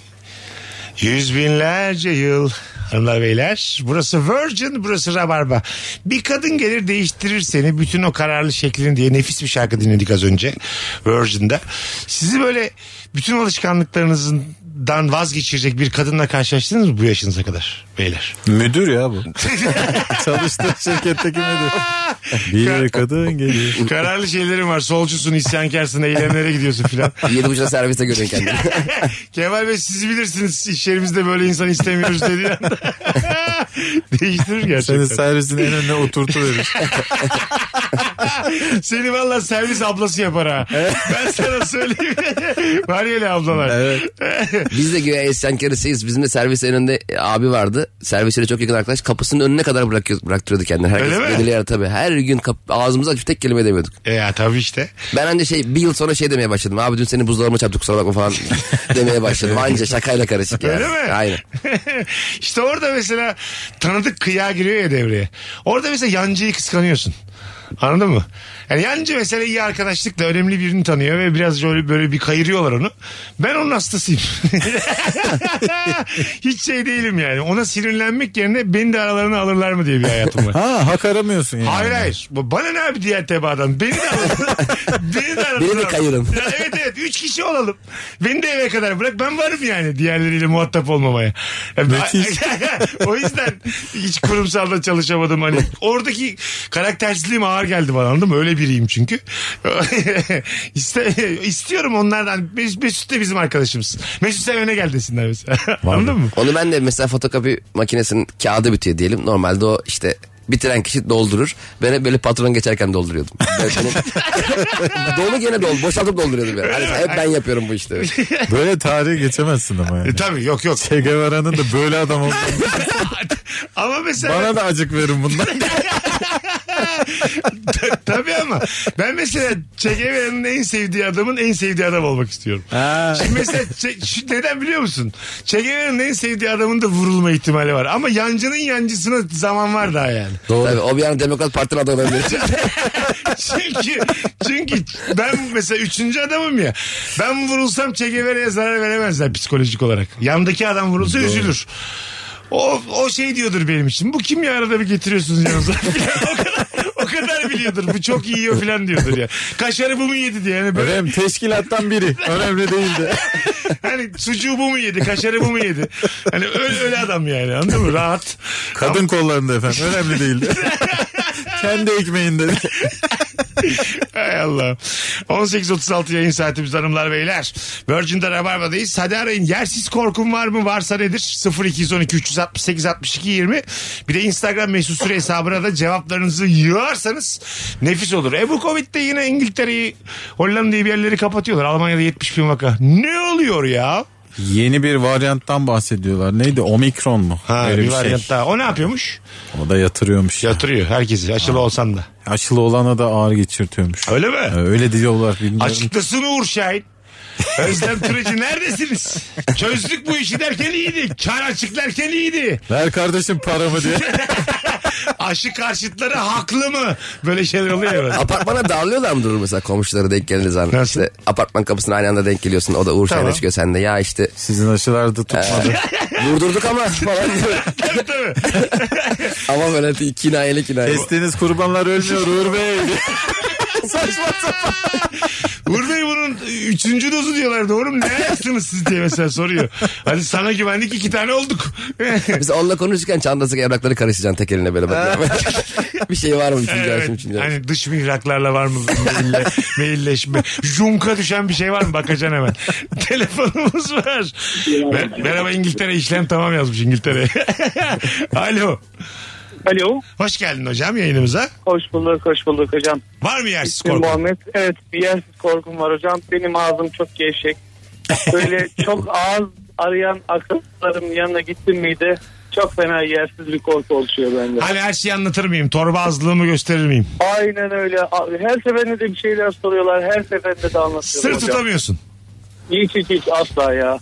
Speaker 1: yüz binlerce yıl. Hanımlar beyler burası Virgin burası Rabarba. Bir kadın gelir değiştirir seni bütün o kararlı şeklini diye nefis bir şarkı dinledik az önce Virgin'de. Sizi böyle bütün alışkanlıklarınızdan vazgeçirecek bir kadınla karşılaştınız mı bu yaşınıza kadar beyler?
Speaker 2: Müdür ya bu. <laughs> Çalıştığı şirketteki müdür. <laughs> Bir kadın geliyor.
Speaker 1: Kararlı şeylerim var solcusun isyankarsın eylemlere gidiyorsun filan.
Speaker 3: 7.30'da servise görüyorsun kendini.
Speaker 1: Kemal Bey siz bilirsiniz iş yerimizde böyle insan istemiyoruz dediği anda. Değiştirir
Speaker 2: Seni
Speaker 1: gerçekten. Seni,
Speaker 2: servisin en önüne oturtuverir.
Speaker 1: valla servis ablası yapar ha. ben sana söyleyeyim. <laughs> Var ya öyle ablalar.
Speaker 3: Biz de güya esyankarısıyız. Bizim de servis önünde e, abi vardı. Servisiyle çok yakın arkadaş. Kapısının önüne kadar bırakıyor, bıraktırıyordu kendini. Herkes
Speaker 1: Öyle mi?
Speaker 3: ödülü yer tabii. Her gün kap- ağzımızı açıp tek kelime edemiyorduk.
Speaker 1: E ya tabii işte.
Speaker 3: Ben anca şey bir yıl sonra şey demeye başladım. Abi dün senin buzdolabına çarptık kusura bakma falan <laughs> demeye başladım. Anca şakayla karışık yani.
Speaker 1: Öyle mi? <laughs>
Speaker 3: Aynen.
Speaker 1: işte orada mesela tanıdık kıya giriyor ya devreye. Orada mesela yancıyı kıskanıyorsun. Anladın mı? Yani yancı mesela iyi arkadaşlıkla önemli birini tanıyor ve biraz böyle, böyle bir kayırıyorlar onu. Ben onun hastasıyım. <laughs> Hiç şey değilim yani. Ona sinirlenmek yerine beni de aralarına alırlar mı diye bir hayatım var.
Speaker 2: <laughs> Ha hak aramıyorsun yani.
Speaker 1: Hayır hayır. Bu- Bana ne abi diğer tebaadan? Beni de alın. Beni de alın.
Speaker 3: Beni de kayırın.
Speaker 1: Ya evet evet. Üç kişi olalım. Beni de eve kadar bırak. Ben varım yani diğerleriyle muhatap olmamaya. Ya,
Speaker 2: Müthiş.
Speaker 1: <laughs> o yüzden hiç kurumsalda çalışamadım. Hani oradaki karaktersizliğim ağır geldi bana anladın mı? Öyle biriyim çünkü. <laughs> İste, istiyorum onlardan. Mes- Mesut da bizim arkadaşımız. Mesut sen öne gel desinler mesela. anladın mı?
Speaker 3: Onu ben de mesela fotokopi makinesinin kağıdı bitiyor diyelim. Normalde o işte bitiren kişi doldurur. Ben hep böyle patron geçerken dolduruyordum. Ben <laughs> hani- Dolu gene dol, boşaltıp dolduruyordum. Yani. Hani hep ben yapıyorum bu işte.
Speaker 2: Böyle tarihe geçemezsin ama yani.
Speaker 1: E, tabii yok yok.
Speaker 2: Che Guevara'nın da böyle adam olduğunu <laughs>
Speaker 1: Ama mesela...
Speaker 2: bana da acık verin <laughs> bundan.
Speaker 1: Ta- <laughs> Tabii ama ben mesela Çegeve'nin en sevdiği adamın en sevdiği adam olmak istiyorum. Şimdi mesela Che- şu- neden biliyor musun? Çegeve'nin en sevdiği adamın da vurulma ihtimali var. Ama yancının yancısına zaman var daha yani.
Speaker 3: Tabii o bir yana Demokrat Parti'nin
Speaker 1: <laughs>
Speaker 3: adamı olabilir.
Speaker 1: çünkü çünkü ben mesela üçüncü adamım ya. Ben vurulsam Çegeve'ye zarar veremezler psikolojik olarak. Yandaki adam vurulsa üzülür. O, o şey diyordur benim için. Bu kim ya arada bir getiriyorsunuz yanınıza? <laughs> o kadar o kadar biliyordur. Bu çok iyi yiyor falan diyordur ya. Kaşarı bu mu yedi diye. Yani böyle
Speaker 2: Önemli teşkilattan biri. Önemli değildi.
Speaker 1: Hani sucuğu bu mu yedi? Kaşarı bu mu yedi? Hani öyle, öyle adam yani anladın mı? Rahat.
Speaker 2: Kadın kollarında efendim. Önemli değildi. <laughs> Kendi ekmeğinde.
Speaker 1: Hay Allah. 18.36 yayın saatimiz hanımlar beyler. Virgin'de Rabarba'dayız. Hadi arayın. Yersiz korkum var mı? Varsa nedir? 0212 368 62 20. Bir de Instagram mesut süre hesabına da cevaplarınızı yığarsanız nefis olur. E bu Covid'de yine İngiltere'yi, Hollanda'yı bir yerleri kapatıyorlar. Almanya'da 70 bin vaka. Ne oluyor ya?
Speaker 2: Yeni bir varyanttan bahsediyorlar. Neydi? Omikron mu?
Speaker 1: Ha,
Speaker 2: Öyle
Speaker 1: bir,
Speaker 2: bir şey.
Speaker 1: varyant daha. O ne yapıyormuş?
Speaker 2: O da yatırıyormuş. ya.
Speaker 1: Yatırıyor herkesi. Aşılı olsan da.
Speaker 2: Aşılı olana da ağır geçirtiyormuş.
Speaker 1: Öyle mi?
Speaker 2: Ee, Öyle diyorlar bilmiyorum.
Speaker 1: Açıklasın Uğur Şahin. Özlem Türeci neredesiniz? Çözdük bu işi derken iyiydi. Kar açıklarken iyiydi.
Speaker 2: Ver kardeşim paramı diye.
Speaker 1: <laughs> Aşı karşıtları haklı mı? Böyle şeyler oluyor ya. böyle.
Speaker 3: Apartmana dağılıyorlar mı durur mesela komşuları denk geldiği zaman?
Speaker 1: Nasıl?
Speaker 3: İşte apartman kapısına aynı anda denk geliyorsun. O da Uğur
Speaker 1: Tamam.
Speaker 3: Şahin'e çıkıyor sen de. Ya işte
Speaker 2: Sizin aşılar da tutmadı.
Speaker 1: Ee, <laughs>
Speaker 3: vurdurduk ama falan diyor.
Speaker 1: Tabii, tabii.
Speaker 3: <laughs> ama böyle kinayeli kinayeli.
Speaker 2: Kestiğiniz kurbanlar ölmüyor Uğur Bey.
Speaker 1: Uğur Bey bunun üçüncü dozu diyorlar doğru mu? Ne yaptınız siz diye mesela soruyor. Hadi sana güvendik iki tane olduk.
Speaker 3: Mesela onunla konuşurken çantasındaki evrakları karıştıracaksın tek eline
Speaker 1: <laughs>
Speaker 3: böyle bakıyor. bir şey var mı? Üçüncü
Speaker 1: Evet.
Speaker 3: arşım, üçüncü arşım.
Speaker 1: Hani dış mihraklarla var mı maille, mailleşme? Junka düşen bir şey var mı? Bakacaksın hemen. Telefonumuz var. Mer- Merhaba İngiltere işlem tamam yazmış İngiltere. <laughs> Alo.
Speaker 5: Alo.
Speaker 1: Hoş geldin hocam yayınımıza.
Speaker 5: Hoş bulduk, hoş bulduk hocam.
Speaker 1: Var mı yersiz
Speaker 5: Ben
Speaker 1: korku?
Speaker 5: Muhammed. Evet bir yersiz korkum var hocam. Benim ağzım çok gevşek. Böyle çok ağız arayan akıllarım yanına gittim miydi çok fena yersiz bir korku oluşuyor bende.
Speaker 1: Hani her şeyi anlatır mıyım? Torba azlığımı gösterir miyim?
Speaker 5: Aynen öyle. Her seferinde de bir şeyler soruyorlar. Her seferinde de anlatıyorum
Speaker 1: Sır
Speaker 5: hocam.
Speaker 1: tutamıyorsun.
Speaker 5: Hiç hiç hiç asla ya.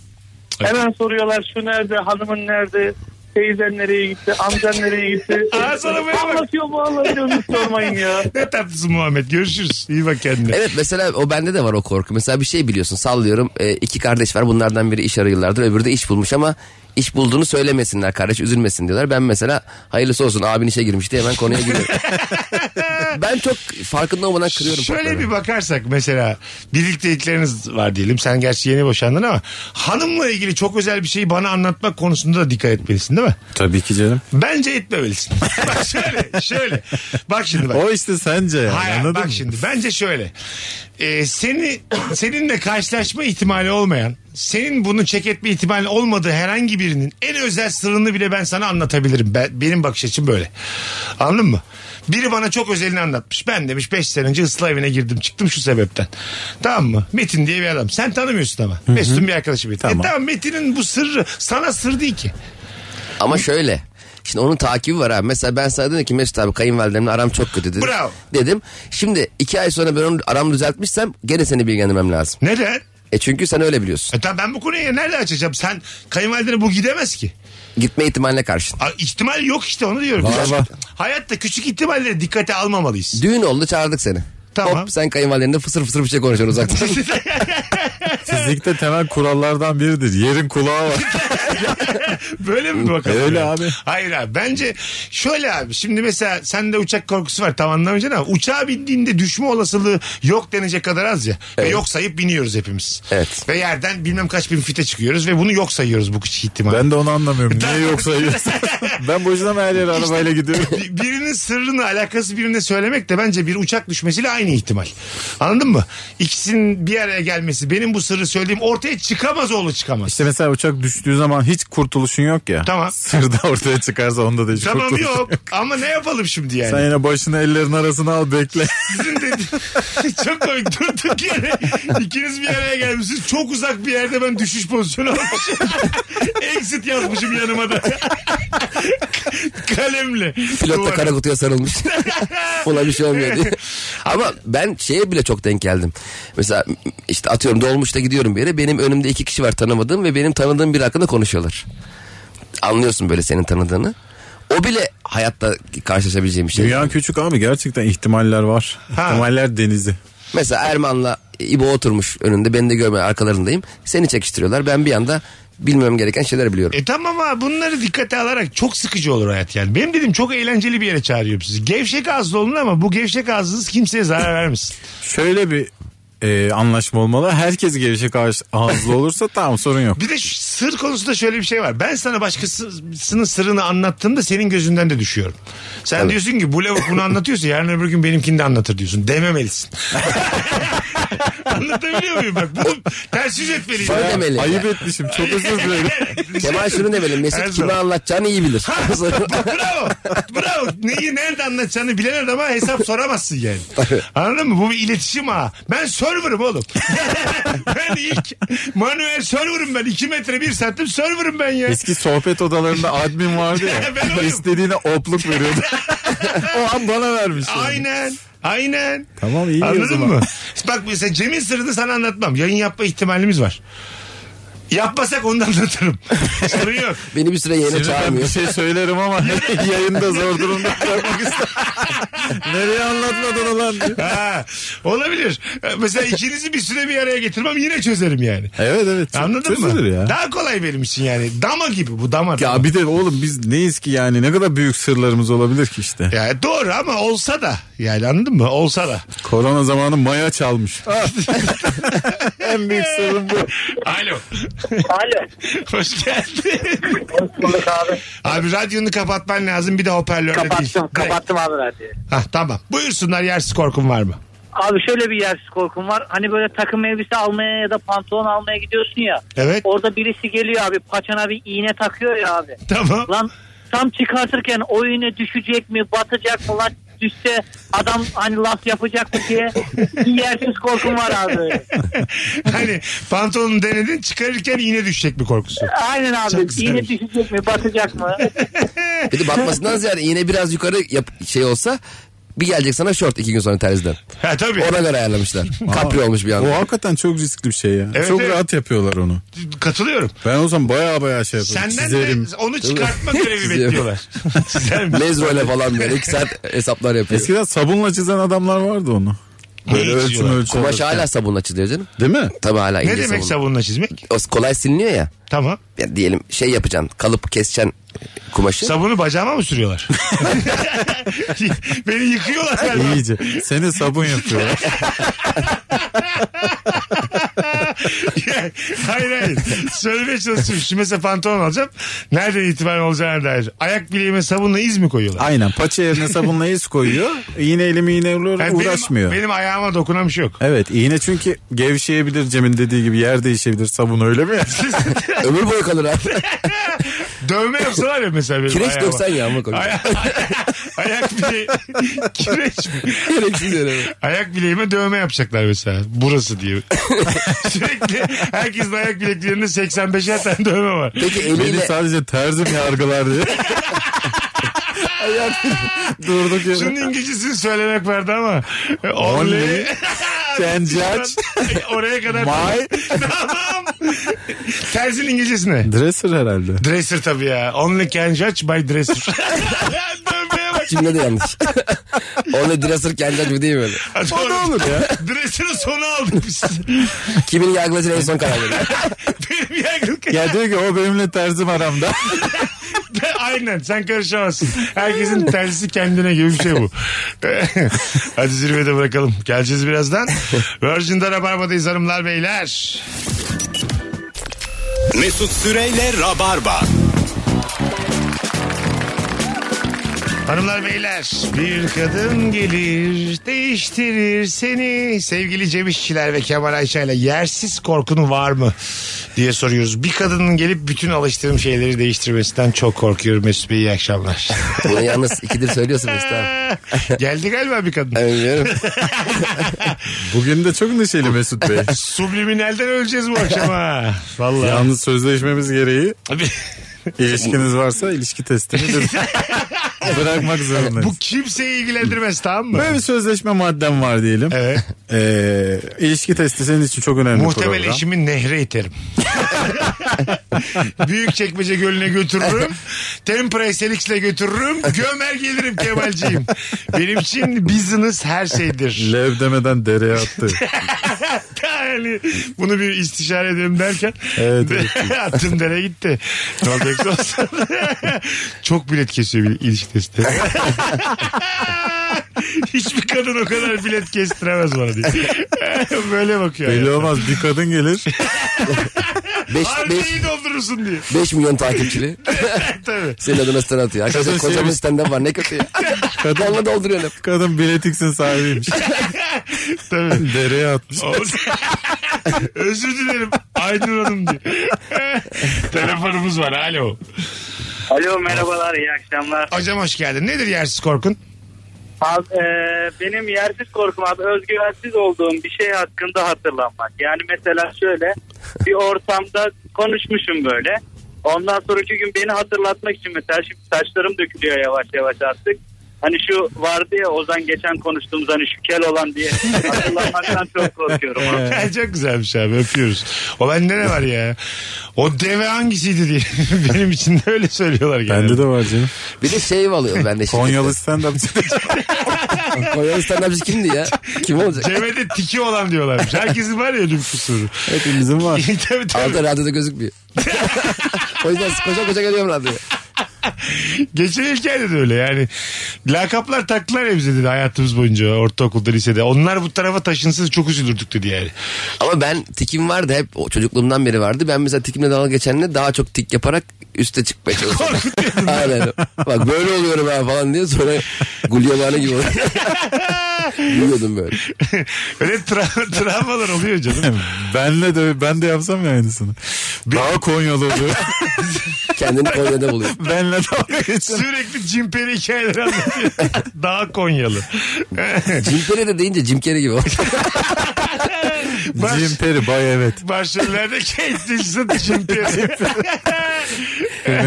Speaker 5: Hemen soruyorlar şu nerede, hanımın nerede, teyzen nereye gitti, amcan nereye gitti.
Speaker 1: Aa, sana böyle bak.
Speaker 5: anlatıyor mu anlatıyor mu hiç sormayın ya.
Speaker 1: Ne tatlısın Muhammed. Görüşürüz. İyi bak kendine.
Speaker 3: Evet mesela o bende de var o korku. Mesela bir şey biliyorsun sallıyorum e, iki kardeş var bunlardan biri iş arıyorlardır öbürü de iş bulmuş ama iş bulduğunu söylemesinler kardeş üzülmesin diyorlar. Ben mesela hayırlısı olsun abin işe girmişti hemen
Speaker 1: <laughs>
Speaker 3: konuya giriyorum. ben çok farkında olmadan kırıyorum.
Speaker 1: Şöyle
Speaker 3: patlarını.
Speaker 1: bir bakarsak mesela birliktelikleriniz var diyelim. Sen gerçi yeni boşandın ama hanımla ilgili çok özel bir şeyi bana anlatmak konusunda da dikkat etmelisin değil mi?
Speaker 2: <laughs> Tabii ki canım.
Speaker 1: Bence etmemelisin. <laughs> bak şöyle şöyle. Bak şimdi bak.
Speaker 2: O işte sence yani,
Speaker 1: Hayır
Speaker 2: anladın
Speaker 1: bak
Speaker 2: mı?
Speaker 1: şimdi bence şöyle. Ee, seni seninle karşılaşma ihtimali olmayan, senin bunu çek etme ihtimali olmadığı herhangi birinin en özel sırrını bile ben sana anlatabilirim. Ben- benim bakış açım böyle. Anladın mı? Biri bana çok özelini anlatmış. Ben demiş 5 sene önce ıslah evine girdim çıktım şu sebepten. Tamam mı? Metin diye bir adam. Sen tanımıyorsun ama. Mesut'un bir arkadaşı Metin. Tamam.
Speaker 2: Tamam.
Speaker 1: E tamam Metin'in bu sırrı sana sır değil ki.
Speaker 3: Ama şöyle. Şimdi onun takibi var abi. Mesela ben sana dedim ki Mesut abi kayınvalidemle aram çok kötü dedim.
Speaker 1: Bravo.
Speaker 3: Dedim. Şimdi iki ay sonra ben onu aramı düzeltmişsem gene seni bilgilendirmem lazım.
Speaker 1: Neden?
Speaker 3: E çünkü sen öyle biliyorsun.
Speaker 1: E tamam ben bu konuyu nerede açacağım? Sen kayınvalidene bu gidemez ki.
Speaker 3: Gitme ihtimaline karşın.
Speaker 1: A, İhtimal yok işte onu diyorum.
Speaker 2: Var,
Speaker 1: Güzel.
Speaker 2: var.
Speaker 1: Hayatta küçük ihtimalleri dikkate almamalıyız. <laughs>
Speaker 3: Düğün oldu çağırdık seni.
Speaker 1: Tamam.
Speaker 3: Hop sen kayınvalidenle fısır fısır bir şey konuşuyorsun uzaktan.
Speaker 2: Fizikte temel kurallardan biridir. Yerin kulağı
Speaker 1: <laughs>
Speaker 2: var. E,
Speaker 1: Böyle mi bakalım?
Speaker 2: Öyle
Speaker 1: Yani?
Speaker 2: abi.
Speaker 1: Hayır abi bence şöyle abi şimdi mesela sende uçak korkusu var tam anlamayacaksın ama uçağa bindiğinde düşme olasılığı yok denecek kadar az ya. Ve yok sayıp biniyoruz hepimiz.
Speaker 3: Evet.
Speaker 1: Ve yerden bilmem kaç bin fite çıkıyoruz ve bunu yok sayıyoruz bu küçük ihtimal.
Speaker 2: ben de onu anlamıyorum. Niye
Speaker 1: <laughs>
Speaker 2: yok sayıyorsun? ben boşuna mı her yere arabayla gidiyorum?
Speaker 1: Bir- birinin sırrını alakası birine söylemek de bence bir uçak düşmesiyle aynı ihtimal. Anladın mı? İkisinin bir araya gelmesi benim bu sırrı söylediğim ortaya çıkamaz oğlu çıkamaz.
Speaker 2: İşte mesela uçak düştüğü zaman hiç kurtuluşun yok ya.
Speaker 1: Tamam.
Speaker 2: Sırda ortaya çıkarsa onda da hiç
Speaker 1: Tamam
Speaker 2: kurtuluş.
Speaker 1: yok ama ne yapalım şimdi yani?
Speaker 2: Sen yine başını ellerin arasına al bekle.
Speaker 1: Sizin de <laughs> çok komik durduk yere ikiniz bir araya gelmişsiniz. Çok uzak bir yerde ben düşüş pozisyonu almışım. <laughs> Exit yazmışım yanıma da. <laughs> Kalemle.
Speaker 3: Pilot da
Speaker 1: Duvara.
Speaker 3: kara kutuya sarılmış. Buna bir şey olmuyor diye. Ama ben şeye bile çok denk geldim. Mesela işte atıyorum dolmuşta gidiyorum bir yere. Benim önümde iki kişi var tanımadığım ve benim tanıdığım biri hakkında konuşuyorlar. Anlıyorsun böyle senin tanıdığını. O bile hayatta karşılaşabileceğim bir şey.
Speaker 2: Dünya küçük abi gerçekten ihtimaller var. İhtimaller denizi.
Speaker 3: Mesela Erman'la İbo oturmuş önünde. Beni de görmüyor arkalarındayım. Seni çekiştiriyorlar. Ben bir anda bilmemem gereken şeyler biliyorum.
Speaker 1: E tamam ama bunları dikkate alarak çok sıkıcı olur hayat yani. Benim dedim çok eğlenceli bir yere çağırıyorum sizi. Gevşek ağızlı olun ama bu gevşek ağzınız kimseye
Speaker 3: <laughs>
Speaker 1: zarar vermesin.
Speaker 2: Şöyle bir e, anlaşma olmalı. Herkes gevşek ağız- ağızlı olursa tamam sorun yok.
Speaker 1: Bir de şu sır konusunda şöyle bir şey var. Ben sana başkasının sırrını anlattığımda senin gözünden de düşüyorum. Sen diyorsun ki bu lavuk bunu
Speaker 3: <laughs>
Speaker 1: anlatıyorsa yarın öbür gün benimkini de anlatır diyorsun. Dememelisin. Anlatabiliyor muyum? Bak bunu ters yüz etmeliyim.
Speaker 2: şey
Speaker 3: Şöyle demeli.
Speaker 2: Ayıp etmişim çok özür dilerim.
Speaker 1: <laughs>
Speaker 3: Kemal şunu demeli.
Speaker 1: Her
Speaker 3: Mesut kime
Speaker 1: zaman.
Speaker 3: anlatacağını iyi bilir. <laughs>
Speaker 1: bravo. Bravo. Neyi nerede anlatacağını bilen adama hesap soramazsın yani. Anladın mı? Bu bir iletişim ha. Ben server'ım oğlum. <laughs> ben ilk manuel server'ım ben. 2 metre 1 santim server'ım ben ya.
Speaker 2: Eski sohbet odalarında admin vardı ya.
Speaker 1: <laughs> Ben oyum.
Speaker 2: istediğine opluk veriyordu. o an bana vermiş. yani.
Speaker 1: Aynen. Aynen.
Speaker 2: Tamam, iyi o
Speaker 1: Anladın
Speaker 2: zaman.
Speaker 1: mı? Bak mesela Cem'in sırrını sana anlatmam. Yayın yapma ihtimalimiz var. Yapmasak onu da anlatırım. <laughs> Sorun yok.
Speaker 3: Beni bir süre yayına
Speaker 2: Seni ben bir
Speaker 3: çağırmıyor.
Speaker 2: şey söylerim ama <laughs> yayında zor durumda bırakmak istemem. Nereye anlatmadın ulan diye.
Speaker 1: Ha, olabilir. Mesela ikinizi bir süre bir araya getirmem yine çözerim yani.
Speaker 2: Evet evet. çok
Speaker 1: Anladın mı?
Speaker 2: çözülür Ya.
Speaker 1: Daha kolay benim için yani. Dama gibi bu dama.
Speaker 2: ya bir de oğlum biz neyiz ki yani ne kadar büyük sırlarımız olabilir ki işte.
Speaker 1: Ya doğru ama olsa da yani anladın mı? Olsa da.
Speaker 2: Korona zamanı maya çalmış. en büyük sırrım bu.
Speaker 1: Alo.
Speaker 5: Alo.
Speaker 1: <laughs> Hoş geldin.
Speaker 5: Bulduk abi.
Speaker 1: Abi radyonu kapatman lazım bir de hoparlörle değil.
Speaker 5: Kapattım.
Speaker 1: Direkt.
Speaker 5: Kapattım abi radyoyu.
Speaker 1: Ha, tamam. Buyursunlar yersiz korkun var mı? <laughs>
Speaker 5: Abi şöyle bir yersiz korkum var. Hani böyle takım elbise almaya ya da pantolon almaya gidiyorsun ya.
Speaker 1: Evet.
Speaker 5: Orada birisi geliyor abi paçana bir iğne takıyor ya abi.
Speaker 1: Tamam.
Speaker 5: Lan tam çıkartırken o iğne düşecek mi batacak mı lan düşse adam hani laf yapacak mı diye bir yersiz korkum var
Speaker 1: <laughs>
Speaker 5: abi.
Speaker 1: hani pantolonu denedin çıkarırken iğne düşecek mi korkusu?
Speaker 5: Aynen abi
Speaker 1: Çok güzel.
Speaker 5: iğne düşecek mi batacak mı?
Speaker 3: Bir de batmasından ziyade iğne biraz yukarı yap- şey olsa bir gelecek sana şort iki gün sonra terziden.
Speaker 1: Ha tabii.
Speaker 3: Ona göre ayarlamışlar. Kapri olmuş bir
Speaker 2: O
Speaker 3: anda.
Speaker 2: hakikaten çok riskli bir şey ya.
Speaker 1: Evet,
Speaker 2: çok
Speaker 1: evet.
Speaker 2: rahat yapıyorlar onu.
Speaker 1: Katılıyorum.
Speaker 2: Ben o zaman baya baya şey yaparım.
Speaker 1: Senden
Speaker 2: çizerim.
Speaker 1: de onu çıkartma görevi
Speaker 3: Çizerim.
Speaker 1: bekliyorlar. <laughs> Çizer mi?
Speaker 3: Lezro ile falan böyle iki saat hesaplar yapıyor.
Speaker 2: Eskiden sabunla çizen adamlar vardı onu.
Speaker 1: Neyi
Speaker 2: Böyle ölçüm
Speaker 1: çiziyorlar?
Speaker 2: ölçü.
Speaker 3: Kumaş
Speaker 2: alırken.
Speaker 3: hala sabunla çiziyor canım.
Speaker 2: Değil mi?
Speaker 3: Tabii hala
Speaker 1: Ne
Speaker 3: ince
Speaker 1: demek
Speaker 3: sabun.
Speaker 1: sabunla çizmek?
Speaker 3: O kolay siliniyor ya.
Speaker 1: Tamam.
Speaker 3: ya. Diyelim şey yapacaksın kalıp keseceksin kumaşı.
Speaker 1: Sabunu bacağıma mı
Speaker 2: <laughs>
Speaker 1: sürüyorlar? <laughs> Beni yıkıyorlar galiba.
Speaker 2: İyice. Seni
Speaker 3: <laughs>
Speaker 2: sabun yapıyorlar.
Speaker 1: <laughs> hayır hayır. Söylemeye çalışıyorum. Şimdi mesela pantolon alacağım. Nereden itibaren olacağına dair. Ayak bileğime sabunla iz mi koyuyorlar?
Speaker 2: Aynen. Paça yerine sabunla iz koyuyor. İğneyle miğneyle
Speaker 1: Yani
Speaker 2: uğraşmıyor.
Speaker 1: Benim, benim ayağıma dokunan bir şey yok.
Speaker 2: Evet iğne çünkü gevşeyebilir Cem'in dediği gibi yer değişebilir sabun
Speaker 1: <laughs>
Speaker 2: öyle mi?
Speaker 3: <laughs> Ömür boyu kalır abi.
Speaker 1: Dövme yapsalar ya mesela benim
Speaker 3: Kireç
Speaker 1: ayağıma.
Speaker 3: döksen yağma koy.
Speaker 1: Aya- <laughs> ayak bileği kireç mi?
Speaker 3: Gereksiz yere.
Speaker 1: Ayak bileğime dövme yapacaklar mesela. Burası diye. <laughs> Sürekli herkesin ayak bileklerinde 85'er tane dövme var.
Speaker 3: Peki
Speaker 2: Beni
Speaker 3: eliyle
Speaker 2: sadece terzim
Speaker 3: <laughs>
Speaker 2: yargılar diye. Ayak durduk yere.
Speaker 1: Şunun İngilizcesini söylemek vardı ama. e, Only. <laughs>
Speaker 2: Only can judge
Speaker 1: Oraya kadar.
Speaker 2: my
Speaker 1: <laughs> tamam. Tersin İngilizcesi ne?
Speaker 2: dresser herhalde.
Speaker 1: Dresser tabii ya. Only can judge by
Speaker 2: <laughs>
Speaker 1: dresser. <laughs> Dövmeye bak.
Speaker 3: cümle de yanlış. <laughs> Onu dirasır kendi acı değil mi böyle?
Speaker 2: O da olur ya.
Speaker 1: Dresser'ın sonu aldık
Speaker 2: <laughs>
Speaker 1: biz.
Speaker 3: Kimin yargılasın en son karar veriyor.
Speaker 1: Benim yargılık.
Speaker 2: Ya diyor ki o benimle terzim aramda.
Speaker 1: Aynen sen karışamazsın. Herkesin tersi kendine gibi bir şey
Speaker 2: <laughs>
Speaker 1: bu. Hadi zirvede bırakalım. Geleceğiz
Speaker 2: <laughs>
Speaker 1: birazdan. Virgin'de Rabarba'dayız hanımlar beyler.
Speaker 6: Mesut Süreyle Rabarba.
Speaker 1: Hanımlar beyler bir kadın gelir değiştirir seni sevgili Cem İşçiler ve Kemal Ayça ile yersiz korkunu var mı diye soruyoruz. Bir kadının gelip bütün alıştığım şeyleri değiştirmesinden çok korkuyorum Mesut Bey iyi akşamlar.
Speaker 3: <laughs> Bunu yalnız ikidir söylüyorsun işte.
Speaker 1: <laughs> Geldi galiba bir kadın.
Speaker 3: Bilmiyorum.
Speaker 2: Bugün de çok neşeli Mesut Bey.
Speaker 1: Subliminalden öleceğiz bu akşam ha. Vallahi.
Speaker 2: Yalnız sözleşmemiz gereği ilişkiniz varsa ilişki testini lütfen bırakmak zorundayız.
Speaker 1: bu kimseyi ilgilendirmez tamam mı?
Speaker 2: Böyle bir sözleşme maddem var diyelim.
Speaker 1: Evet.
Speaker 2: Ee, ilişki testi senin için çok önemli
Speaker 1: Muhtemel
Speaker 2: program.
Speaker 1: eşimi nehre
Speaker 2: <laughs>
Speaker 1: iterim. Büyük çekmece gölüne
Speaker 2: <laughs>
Speaker 1: götürürüm. Tempera'yı Selix'le götürürüm. Gömer gelirim Kemal'ciğim. Benim için business her
Speaker 2: <laughs>
Speaker 1: şeydir.
Speaker 2: Lev demeden dereye attı.
Speaker 1: yani bunu bir istişare edelim derken
Speaker 2: Evet,
Speaker 1: <laughs> attım dere gitti. Ne olacaksa olsun. <laughs> Çok bilet kesiyor bir ilişki testi. <laughs> Hiçbir kadın o kadar bilet kestiremez bana diye. <laughs> Böyle bakıyor.
Speaker 2: Belli olmaz bir kadın gelir.
Speaker 3: 5
Speaker 1: Harbiyeyi doldurursun diye. <laughs>
Speaker 3: 5 milyon takipçili.
Speaker 1: Tabii.
Speaker 3: Senin adına stand atıyor. Arkadaşlar
Speaker 2: Kadın
Speaker 3: kocaman
Speaker 2: şeymiş.
Speaker 3: stand var ne kötü ya.
Speaker 2: Kadın-
Speaker 3: Onunla dolduruyor hep.
Speaker 2: Kadın biletiksin sahibiymiş.
Speaker 1: Tabii.
Speaker 2: Dereye atmış.
Speaker 1: <laughs> Özür dilerim. Aynur Hanım diye. Telefonumuz var. Alo.
Speaker 7: Alo merhabalar iyi akşamlar.
Speaker 1: Hocam hoş geldin. Nedir yersiz korkun?
Speaker 7: Abi, e, benim yersiz korkum abi özgüvensiz olduğum bir şey hakkında hatırlanmak. Yani mesela şöyle bir ortamda konuşmuşum böyle. Ondan sonraki gün beni hatırlatmak için mesela şimdi saçlarım dökülüyor yavaş yavaş artık. Hani şu vardı ya Ozan geçen konuştuğumuz hani şu kel olan diye hatırlamaktan çok korkuyorum.
Speaker 1: Ee. <laughs>
Speaker 7: abi.
Speaker 1: Çok güzelmiş abi öpüyoruz. O bende ne var ya? O deve hangisiydi diye. <laughs> Benim için de öyle söylüyorlar genelde.
Speaker 2: Bende de var canım.
Speaker 3: Bir de şey alıyor bende şimdi.
Speaker 2: Konyalı stand-up.
Speaker 3: Konyalı stand kimdi ya? Kim olacak?
Speaker 1: <laughs> Cem'e de tiki olan diyorlarmış. Herkesin var ya ölüm kusuru.
Speaker 2: Hepimizin var.
Speaker 1: <laughs> tabii tabii.
Speaker 3: Altta radyoda gözükmüyor. o yüzden koşa koşa geliyorum radyoya.
Speaker 1: Geçen ilkelde de öyle yani. Lakaplar taktılar ya bize dedi hayatımız boyunca ortaokulda lisede. Onlar bu tarafa taşınsa çok üzülürdük dedi yani.
Speaker 3: Ama ben tikim vardı hep o çocukluğumdan beri vardı. Ben mesela tikimle dalga geçenle daha çok tik yaparak üste çıkmaya çalışıyorum. <laughs> Aynen. Bak böyle oluyorum ha falan diye sonra gulyalarına gibi oluyorum. Gülüyordum böyle.
Speaker 1: öyle tra- <laughs> travmalar oluyor canım.
Speaker 2: <laughs> Benle de ben de yapsam ya aynısını. Daha Konyalı oluyor.
Speaker 3: Kendini Konya'da buluyor.
Speaker 2: Benle dalga geçen.
Speaker 1: Sürekli cimperi hikayeleri anlatıyor. Daha Konyalı.
Speaker 3: Jim Carrey de deyince Jim Carrey gibi oldu.
Speaker 1: Baş-
Speaker 2: Jim Perry bay evet.
Speaker 1: Başrollerde Kate Winslet cimperi.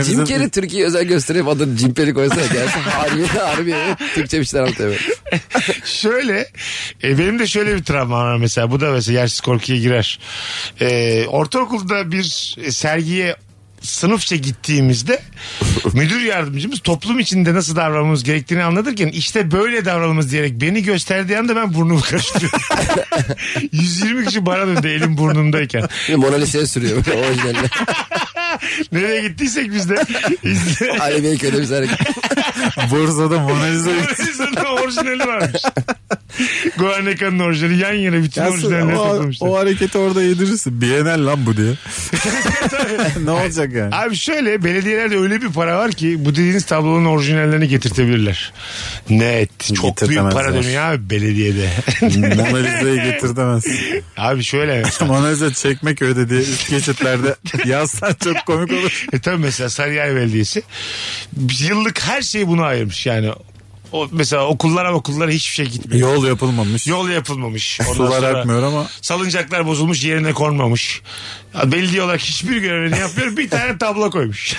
Speaker 3: Jim Carrey Türkiye'ye özel gösterip adını Jim Carrey koysana gelsin. Harbi harbi Türkçe bir şeyler anlatıyor. böyle.
Speaker 1: şöyle e, benim de şöyle bir travmam var mesela bu da mesela yersiz korkuya girer. E, ortaokulda bir e, sergiye sınıfça gittiğimizde müdür yardımcımız toplum içinde nasıl davranmamız gerektiğini anlatırken işte böyle davranmamız diyerek beni gösterdiği anda ben burnumu karıştırıyorum. <laughs> 120 kişi bana döndü elim burnumdayken.
Speaker 3: Şimdi Mona Lisa'ya sürüyor böyle orijinaline.
Speaker 1: Nereye gittiysek biz de izle-
Speaker 3: Ali Beyköy'de bir sergi.
Speaker 2: Bursa'da Mona Lisa.
Speaker 1: Zaten orijinali <laughs> varmış. Guarnaca'nın orijinali yan yana bütün
Speaker 2: Ya
Speaker 1: orijinalleri
Speaker 2: o,
Speaker 1: toplamışlar.
Speaker 2: o hareketi orada yedirirsin. Bienal lan bu <laughs> diye. ne olacak yani?
Speaker 1: Abi şöyle belediyelerde öyle bir para var ki bu dediğiniz tablonun orijinallerini getirtebilirler. Net. Çok büyük
Speaker 2: Getirtemezler.
Speaker 1: para dönüyor abi belediyede. <laughs>
Speaker 2: Mona Lisa'yı getirtemezsin.
Speaker 1: abi şöyle.
Speaker 2: Mona Lisa Çekmeköy'de diye üst geçitlerde yazsan çok komik olur.
Speaker 1: E tabii mesela Sarıyer Belediyesi yıllık her şeyi buna ayırmış yani. O, mesela okullara okullara hiçbir şey gitmiyor.
Speaker 2: Yol yapılmamış.
Speaker 1: Yol yapılmamış. Ondan
Speaker 2: Sular
Speaker 1: sonra-
Speaker 2: akmıyor ama
Speaker 1: Salıncaklar bozulmuş yerine konmamış. Belediye olarak hiçbir görevini yapmıyor. Bir tane tablo
Speaker 3: <laughs>
Speaker 1: koymuş.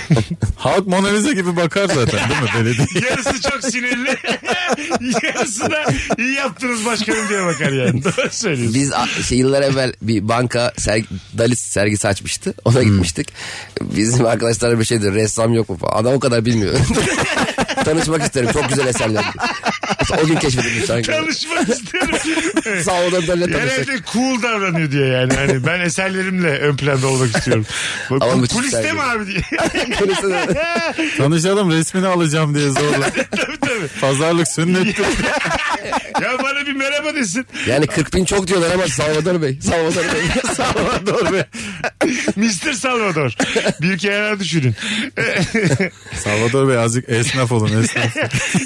Speaker 2: halk Mona Lisa gibi bakar zaten değil mi belediye?
Speaker 1: Yarısı çok sinirli. <laughs> Yarısı da iyi yaptınız başkanım diye bakar
Speaker 3: <laughs>
Speaker 1: yani. Doğru söylüyorsun.
Speaker 3: Biz a- şey, yıllar evvel bir banka sergi, Dalit sergisi açmıştı. Ona gitmiştik. Bizim arkadaşlar bir şeydi ressam yok mu falan. Adam o kadar bilmiyor. Tanışmak isterim. Çok güzel eserler. Mesela o gün keşfedilmiş sanki.
Speaker 1: Tanışmak
Speaker 3: <laughs>
Speaker 1: isterim. Evet.
Speaker 3: Sağ olun benimle tanıştık.
Speaker 1: Herhalde cool davranıyor diyor yani. Hani ben eserlerimle ön planda olmak
Speaker 3: <laughs>
Speaker 1: istiyorum. Bak,
Speaker 3: Ama
Speaker 1: bu
Speaker 3: müthiş
Speaker 1: kuliste
Speaker 3: sergi.
Speaker 1: mi abi
Speaker 3: <laughs>
Speaker 1: diye.
Speaker 3: Polise de-
Speaker 2: Tanışalım resmini alacağım diye <laughs> zorla.
Speaker 1: tabii tabii.
Speaker 2: Pazarlık sünnet.
Speaker 1: Ya bana bir merhaba desin. <laughs>
Speaker 3: Yani 40 bin çok diyorlar ama Salvador Bey. Salvador Bey. <laughs> Salvador Bey.
Speaker 1: Mr. Salvador. Bir kenara
Speaker 3: <laughs>
Speaker 1: düşünün.
Speaker 2: Salvador Bey azıcık esnaf olun esnaf.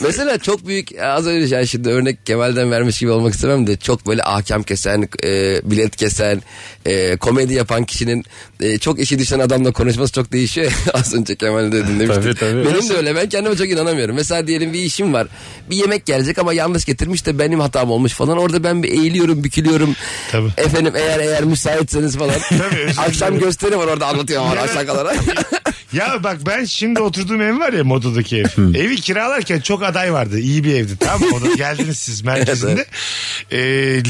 Speaker 3: Mesela çok büyük e, az önce yani şimdi örnek Kemal'den vermiş gibi olmak istemem de çok böyle ahkam kesen, e, bilet kesen, e, komedi yapan kişinin e, çok işi düşen adamla konuşması çok değişiyor. <laughs> az önce Kemal de dinlemiştim.
Speaker 2: Tabii, tabii.
Speaker 3: Benim de öyle ben kendime çok inanamıyorum. Mesela diyelim bir işim var. Bir yemek gelecek ama yanlış getirmiş de benim hatam olmuş falan. Orada ben bir eğiliyorum, bükülüyorum.
Speaker 1: Tabii.
Speaker 3: Efendim eğer eğer müsaitseniz falan.
Speaker 1: <laughs> Tabii, özür
Speaker 3: Akşam
Speaker 1: dilerim.
Speaker 3: gösteri var orada anlatıyor ama aşağı
Speaker 1: <laughs> Ya bak ben şimdi oturduğum ev var ya modadaki ev. Evi kiralarken çok aday vardı. İyi bir evdi tamam mı? Orada geldiniz
Speaker 3: <laughs>
Speaker 1: siz merkezinde. Ee,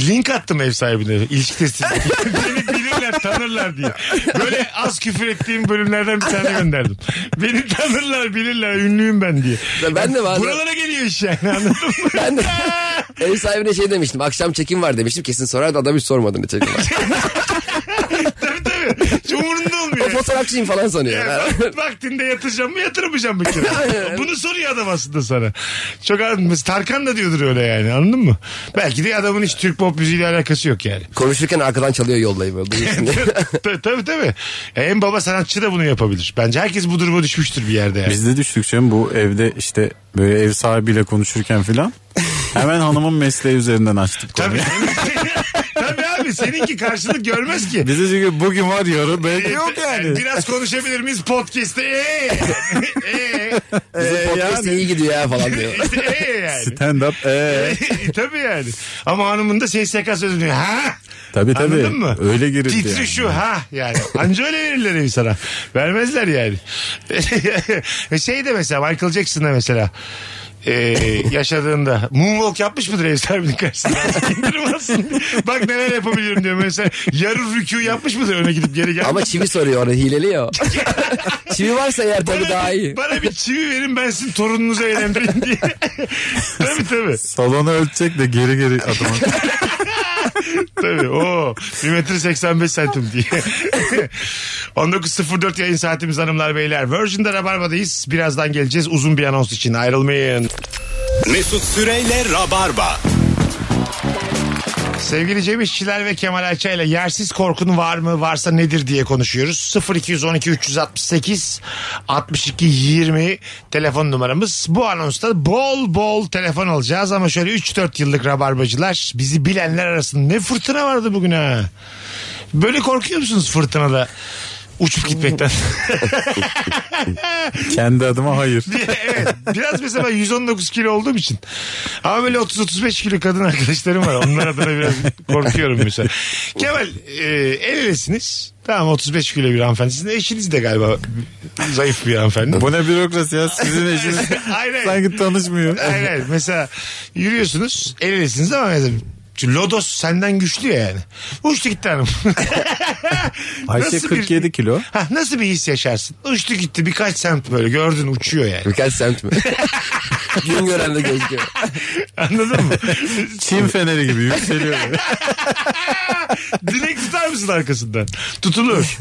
Speaker 1: link attım ev sahibine. İlişki testi. <laughs> Beni bilirler tanırlar diye. Böyle az küfür ettiğim bölümlerden bir tane gönderdim. Beni tanırlar bilirler ünlüyüm ben diye.
Speaker 3: Ya ben de bazen-
Speaker 1: Buralara geliyor iş yani anladın mı?
Speaker 3: Ben de ev sahibine şey demiştim. Akşam çekim var demiştim. Kesin sorardı adam hiç sormadı ne çekim var.
Speaker 1: tabii tabii. Hiç umurunda
Speaker 3: o
Speaker 1: olmuyor.
Speaker 3: fotoğrafçıyım falan
Speaker 1: Ya
Speaker 3: sanıyor.
Speaker 1: vak- <laughs> vaktinde yatacağım mı yatırmayacağım mı kira? Bunu soruyor adam aslında sana. Çok anladın mı? Tarkan da diyordur öyle yani anladın mı? Belki de adamın hiç Türk pop müziğiyle alakası yok <laughs> yani.
Speaker 3: <laughs> Konuşurken arkadan çalıyor yollayı böyle. duyuyorsun diye.
Speaker 1: Ta- tabii tabii. E, en baba sanatçı da bunu yapabilir. Bence herkes bu duruma düşmüştür bir yerde yani.
Speaker 2: Biz de düştük canım bu evde işte böyle ev sahibiyle konuşurken filan. Hemen hanımın mesleği üzerinden açtık
Speaker 1: Tabii. <laughs>
Speaker 2: konuyu.
Speaker 1: tabii abi seninki karşılık görmez ki.
Speaker 2: Bize çünkü bugün var yarın belki yok <laughs> yani.
Speaker 1: Biraz konuşabilir miyiz podcast'te? <laughs> Ee, ee,
Speaker 3: Bizim
Speaker 2: Ee,
Speaker 3: podcast
Speaker 2: yani.
Speaker 3: iyi gidiyor ya falan diyor.
Speaker 1: işte ee yani.
Speaker 2: Stand up. Ee.
Speaker 1: E, <laughs> tabii yani. Ama hanımın da SSK sözü diyor. Ha?
Speaker 2: Tabii tabii.
Speaker 1: Anladın mı?
Speaker 2: Öyle girildi
Speaker 1: Titri
Speaker 2: yani.
Speaker 1: şu ha yani. Anca öyle verirler evi sana. <laughs> Vermezler yani. E, şey de mesela Michael Jackson'da mesela e, yaşadığında moonwalk yapmış mıdır ev sahibinin karşısında? İndirmezsin. Bak neler yapabiliyorum diyor. Mesela yarı rükû yapmış mıdır öne gidip geri gel.
Speaker 3: Ama çivi soruyor onu hileli ya. o. çivi varsa eğer tabii daha iyi.
Speaker 1: Bana bir çivi verin ben sizin torununuzu eğlendireyim
Speaker 2: <laughs>
Speaker 1: diye. tabii tabii.
Speaker 2: Salonu ölçecek de geri geri adamın.
Speaker 1: Tabii o 1 metre 85 santim diye. <laughs> 19.04 yayın saatimiz hanımlar beyler. Virgin'de Rabarba'dayız. Birazdan geleceğiz uzun bir anons için ayrılmayın.
Speaker 6: Mesut Süreyle Rabarba.
Speaker 1: Sevgili Cem İşçiler ve Kemal Ayça ile yersiz korkun var mı varsa nedir diye konuşuyoruz. 0212 368 62 20 telefon numaramız. Bu anonsta bol bol telefon alacağız ama şöyle 3-4 yıllık rabarbacılar bizi bilenler arasında ne fırtına vardı bugün ha. Böyle korkuyor musunuz fırtınada? Uçup gitmekten.
Speaker 2: Kendi adıma hayır.
Speaker 1: <laughs> evet. Biraz mesela ben 119 kilo olduğum için. Ama böyle 30-35 kilo kadın arkadaşlarım var. Onlar adına biraz korkuyorum mesela. Kemal e, el elesiniz. Tamam 35 kilo bir hanımefendi. Sizin eşiniz de galiba zayıf bir hanımefendi.
Speaker 2: Bu ne bürokrasi ya sizin
Speaker 1: <laughs>
Speaker 2: eşiniz
Speaker 1: Aynen.
Speaker 2: sanki tanışmıyor.
Speaker 1: Aynen. Mesela yürüyorsunuz el elesiniz ama mesela şu Lodos senden güçlü ya yani. Uçtu gitti hanım. <laughs>
Speaker 2: Ayşe
Speaker 1: Nasıl bir-
Speaker 2: 47 kilo.
Speaker 1: Ha, nasıl bir his yaşarsın? Uçtu gitti birkaç semt böyle gördün uçuyor yani.
Speaker 3: Birkaç semt mi? Gün gören de gözüküyor.
Speaker 1: Anladın
Speaker 2: <laughs>
Speaker 1: mı?
Speaker 2: Çin feneri gibi yükseliyor.
Speaker 1: Dilek tutar mısın arkasından? Tutulur.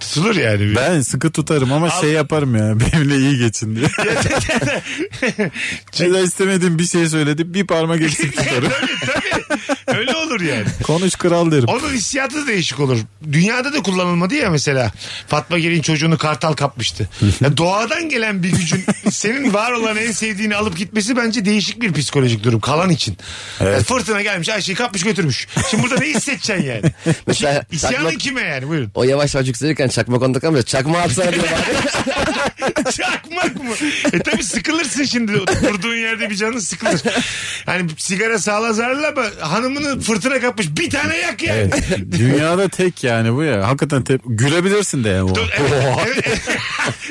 Speaker 1: Tutulur yani.
Speaker 2: Ben sıkı tutarım ama şey yaparım ya <laughs> benimle iyi geçin diye. Ya da istemediğim bir şey söyledi bir parmak eksik tutarım.
Speaker 1: Tabii tabii. <laughs> Öyle olur yani.
Speaker 2: Konuş kral derim.
Speaker 1: Onun hissiyatı da değişik olur. Dünyada da kullanılmadı ya mesela. Fatma Gelin çocuğunu kartal kapmıştı. Ya doğadan gelen bir gücün senin var olan en sevdiğini alıp gitmesi bence değişik bir psikolojik durum. Kalan için. Ya fırtına gelmiş her şeyi kapmış götürmüş. Şimdi burada ne hissedeceksin yani?
Speaker 3: Mesela
Speaker 1: İsyanın
Speaker 3: çakmak-
Speaker 1: kime yani buyurun.
Speaker 3: O yavaş yavaş yükselirken çakmak onda kalmıyor. Çakma atsana diye bağırıyor.
Speaker 1: <laughs> Çakmak mı? E tabi sıkılırsın şimdi. Durduğun yerde bir canın sıkılır. Hani sigara sağla zararlı ama hanımını fırtına kapmış. Bir tane yak yani. <laughs>
Speaker 2: Dünyada tek yani bu ya. Hakikaten tek. Gülebilirsin de ya o.
Speaker 1: Dur, e- Evet, evet, evet.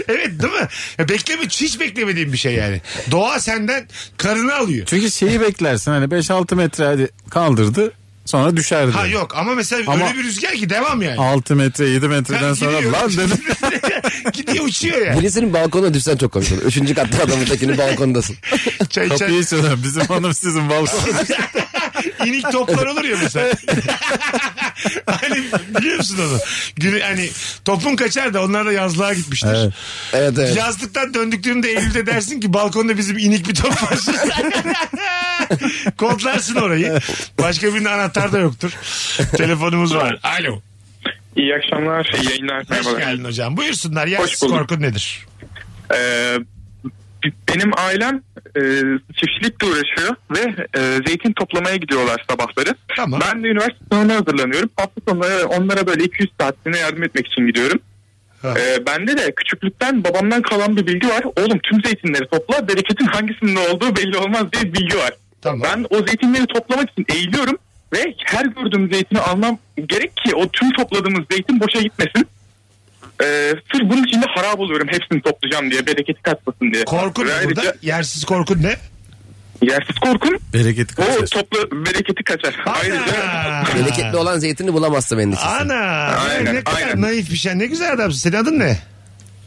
Speaker 1: Evet, değil mi? Ya bekleme, hiç beklemediğim bir şey yani. Doğa senden karını alıyor.
Speaker 2: Çünkü şeyi beklersin hani 5-6 metre hadi kaldırdı sonra düşerdi.
Speaker 1: Ha yok ama mesela
Speaker 2: Ama-
Speaker 1: öyle bir rüzgar ki devam yani.
Speaker 2: 6 metre 7 metreden
Speaker 1: Ha,
Speaker 2: sonra
Speaker 1: gidiyor. <laughs>
Speaker 2: lan dedim.
Speaker 1: Gidiyor uçuyor yani.
Speaker 3: Birisinin balkonuna düşsen çok komik olur. Üçüncü katta adamın tekinin balkondasın.
Speaker 1: Çay içer-
Speaker 2: Kapıyı çalıyorum.
Speaker 1: <laughs>
Speaker 2: Bizim hanım sizin balkon.
Speaker 1: İnik toplar olur ya mesela. <laughs> hani biliyor musun onu? Günü, hani topun kaçar da onlar da yazlığa gitmiştir.
Speaker 2: Evet.
Speaker 3: Evet evet.
Speaker 1: Yazlıktan döndüklerinde Eylül'de dersin ki balkonda bizim inik bir top var. Kodlarsın orayı. Başka birinin anahtar da yoktur. Telefonumuz var. Alo.
Speaker 7: <laughs> İyi akşamlar, iyi yayınlar.
Speaker 1: Hoş
Speaker 7: merhabalar.
Speaker 1: geldin hocam. Buyursunlar. Yersiz
Speaker 7: bulduk.
Speaker 1: korkun nedir?
Speaker 7: Ee, b- benim ailem e, çiftçilikle uğraşıyor ve e, zeytin toplamaya gidiyorlar sabahları.
Speaker 1: Tamam.
Speaker 7: Ben de üniversite sınavına hazırlanıyorum. Hafta sonları onlara böyle 200 saatliğine yardım etmek için gidiyorum.
Speaker 1: Ha.
Speaker 7: Ee, bende de küçüklükten babamdan kalan bir bilgi var. Oğlum tüm zeytinleri topla bereketin hangisinin olduğu belli olmaz diye bir bilgi var.
Speaker 1: Tamam.
Speaker 7: Ben o zeytinleri toplamak için eğiliyorum ve her gördüğüm zeytini almam gerek ki o tüm topladığımız zeytin boşa gitmesin. Ee, sırf bunun için de harap oluyorum hepsini toplayacağım diye bereketi kaçmasın diye.
Speaker 1: Korkun
Speaker 7: Ve
Speaker 1: ne
Speaker 7: ayrıca
Speaker 1: burada? Yersiz korkun ne?
Speaker 7: Yersiz korkun
Speaker 2: Bereketi
Speaker 7: o
Speaker 2: kaçar.
Speaker 7: topla bereketi kaçar. Ayrıca
Speaker 3: Bereketli olan zeytini bulamazsın benim için.
Speaker 1: Ana.
Speaker 7: Aynen,
Speaker 1: ne kadar
Speaker 7: aynen.
Speaker 1: naif bir şey. Ne güzel adamsın. Senin adın ne?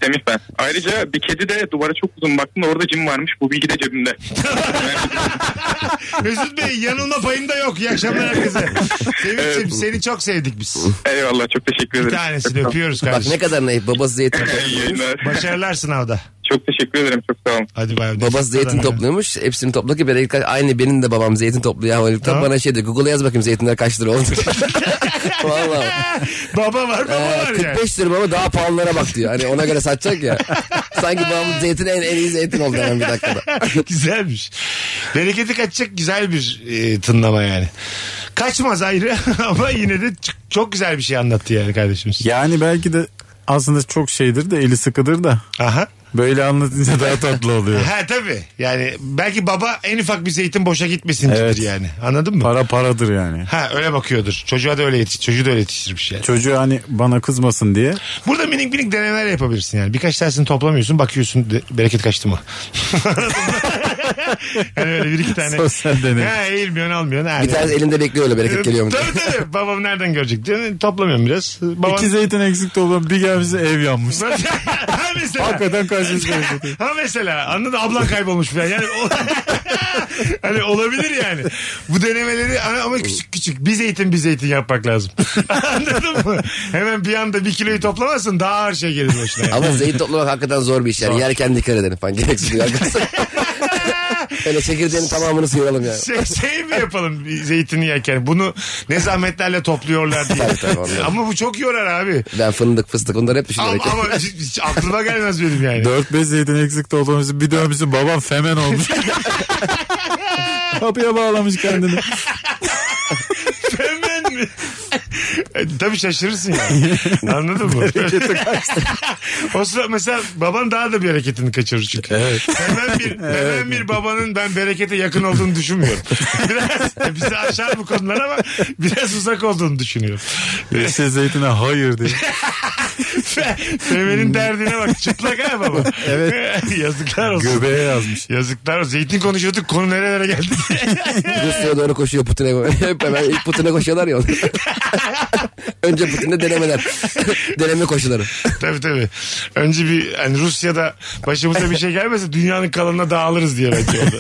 Speaker 7: Semih ben. Ayrıca bir kedi de duvara çok uzun baktım orada cim varmış. Bu bilgi de cebimde.
Speaker 1: Mesut Bey yanılma payım da yok. İyi akşamlar herkese. Sevinç'im seni çok sevdik biz.
Speaker 7: Eyvallah çok teşekkür
Speaker 1: Bir
Speaker 7: ederim.
Speaker 1: tanesini öpüyoruz
Speaker 3: Bak ne
Speaker 1: kardeşim.
Speaker 3: kadar naif. Babası zeytin
Speaker 7: <laughs> İyi yayınlar.
Speaker 1: Başarılar sınavda.
Speaker 7: Çok teşekkür ederim. Çok sağ olun.
Speaker 1: Hadi bay bay.
Speaker 3: Babası zeytin
Speaker 1: Adam ya.
Speaker 3: topluyormuş. Hepsini topla ki bereket kaç- Aynı benim de babam zeytin topluyor. Ama
Speaker 1: Tamam.
Speaker 3: bana şey diyor. Google'a yaz bakayım zeytinler kaç
Speaker 1: <laughs>
Speaker 3: lira oldu. Valla.
Speaker 1: <laughs> Baba var baba
Speaker 3: Ee,
Speaker 1: var yani.
Speaker 3: 45 lira ama daha pahalılara bak diyor. Hani ona göre satacak ya. Sanki babamın zeytin en, en iyi zeytin oldu hemen bir dakikada.
Speaker 1: Güzelmiş. Bereketi kaçacak güzel bir e, tınlama yani. Kaçmaz ayrı <laughs> ama yine de ç- çok güzel bir şey anlattı yani kardeşimiz.
Speaker 2: Yani belki de aslında çok şeydir de eli sıkıdır da
Speaker 1: Aha.
Speaker 2: Böyle anlatınca daha tatlı oluyor.
Speaker 1: Ha tabii. Yani belki baba en ufak bir zeytin boşa gitmesin
Speaker 2: Evet.
Speaker 1: yani. Anladın mı?
Speaker 2: Para paradır yani.
Speaker 1: Ha öyle bakıyordur. Çocuğa da öyle yetiş, çocuğu da öyle yetiştirmiş yani.
Speaker 2: Çocuğu hani bana kızmasın diye.
Speaker 1: Burada minik minik denemeler yapabilirsin yani. Birkaç tanesini toplamıyorsun bakıyorsun de- bereket kaçtı mı? <laughs> Anladın mı? yani öyle bir iki tane.
Speaker 2: Sosyal deney.
Speaker 1: Ha eğilmiyorsun almıyorsun. Ha,
Speaker 3: Bir tanesi elinde bekliyor öyle bereket geliyor mu? diye.
Speaker 1: Tabii tabii. Babam nereden görecek? diye Toplamıyorum biraz. Babam...
Speaker 2: İki zeytin eksik olan bir gelmişse ev
Speaker 1: <laughs>
Speaker 2: yanmış.
Speaker 1: ha mesela.
Speaker 2: Hakikaten karşınızda bereket.
Speaker 1: ha mesela anladın ablan kaybolmuş falan yani o- <laughs> hani olabilir yani bu denemeleri hani ama küçük küçük bir zeytin bir zeytin yapmak lazım <laughs> anladın mı hemen bir anda bir kiloyu toplamazsın daha ağır şey gelir başına yani.
Speaker 3: Ama zeytin toplamak hakikaten zor bir iş yani. Yerken dikkat edelim falan. Gereksiz
Speaker 1: <laughs>
Speaker 3: bir arkadaşlar. Öyle çekirdeğinin tamamını sıyıralım yani.
Speaker 1: şey, şey mi yapalım bir zeytini yerken bunu ne zahmetlerle topluyorlar diye
Speaker 3: tabii, anladım.
Speaker 1: ama bu çok yorar abi
Speaker 3: Ben fındık fıstık bunları hep
Speaker 1: ama,
Speaker 3: düşünerek.
Speaker 1: ama hiç- hiç aklıma gelmez benim yani
Speaker 2: 4-5 zeytin eksik de olmamışsın. Bir dönmüşsün babam
Speaker 1: <laughs>
Speaker 2: femen olmuş. Kapıya bağlamış kendini.
Speaker 1: Hemen mi? E, Tabii şaşırırsın yani. Anladın mı? <laughs> o sıra mesela baban daha da bir hareketini kaçırır çünkü. Hemen bir, hemen bir babanın ben berekete yakın olduğunu düşünmüyorum. Biraz e, bizi aşar bu konular ama biraz uzak olduğunu düşünüyorum.
Speaker 2: Yeşil zeytine hayır diye.
Speaker 1: Femen'in derdine bak çıplak ha baba. Evet. <laughs> Yazıklar olsun.
Speaker 2: Göbeğe yazmış.
Speaker 1: Yazıklar olsun. Zeytin konuşuyorduk konu nerelere geldi.
Speaker 3: Rusya'ya doğru koşuyor Putin'e. <laughs> Hep hemen ilk Putin'e koşuyorlar ya. <laughs> onlar. Önce Putin'de denemeler. <laughs> Deneme koşuları.
Speaker 1: Tabii tabii. Önce bir hani Rusya'da başımıza bir şey gelmese dünyanın kalanına dağılırız diye belki orada.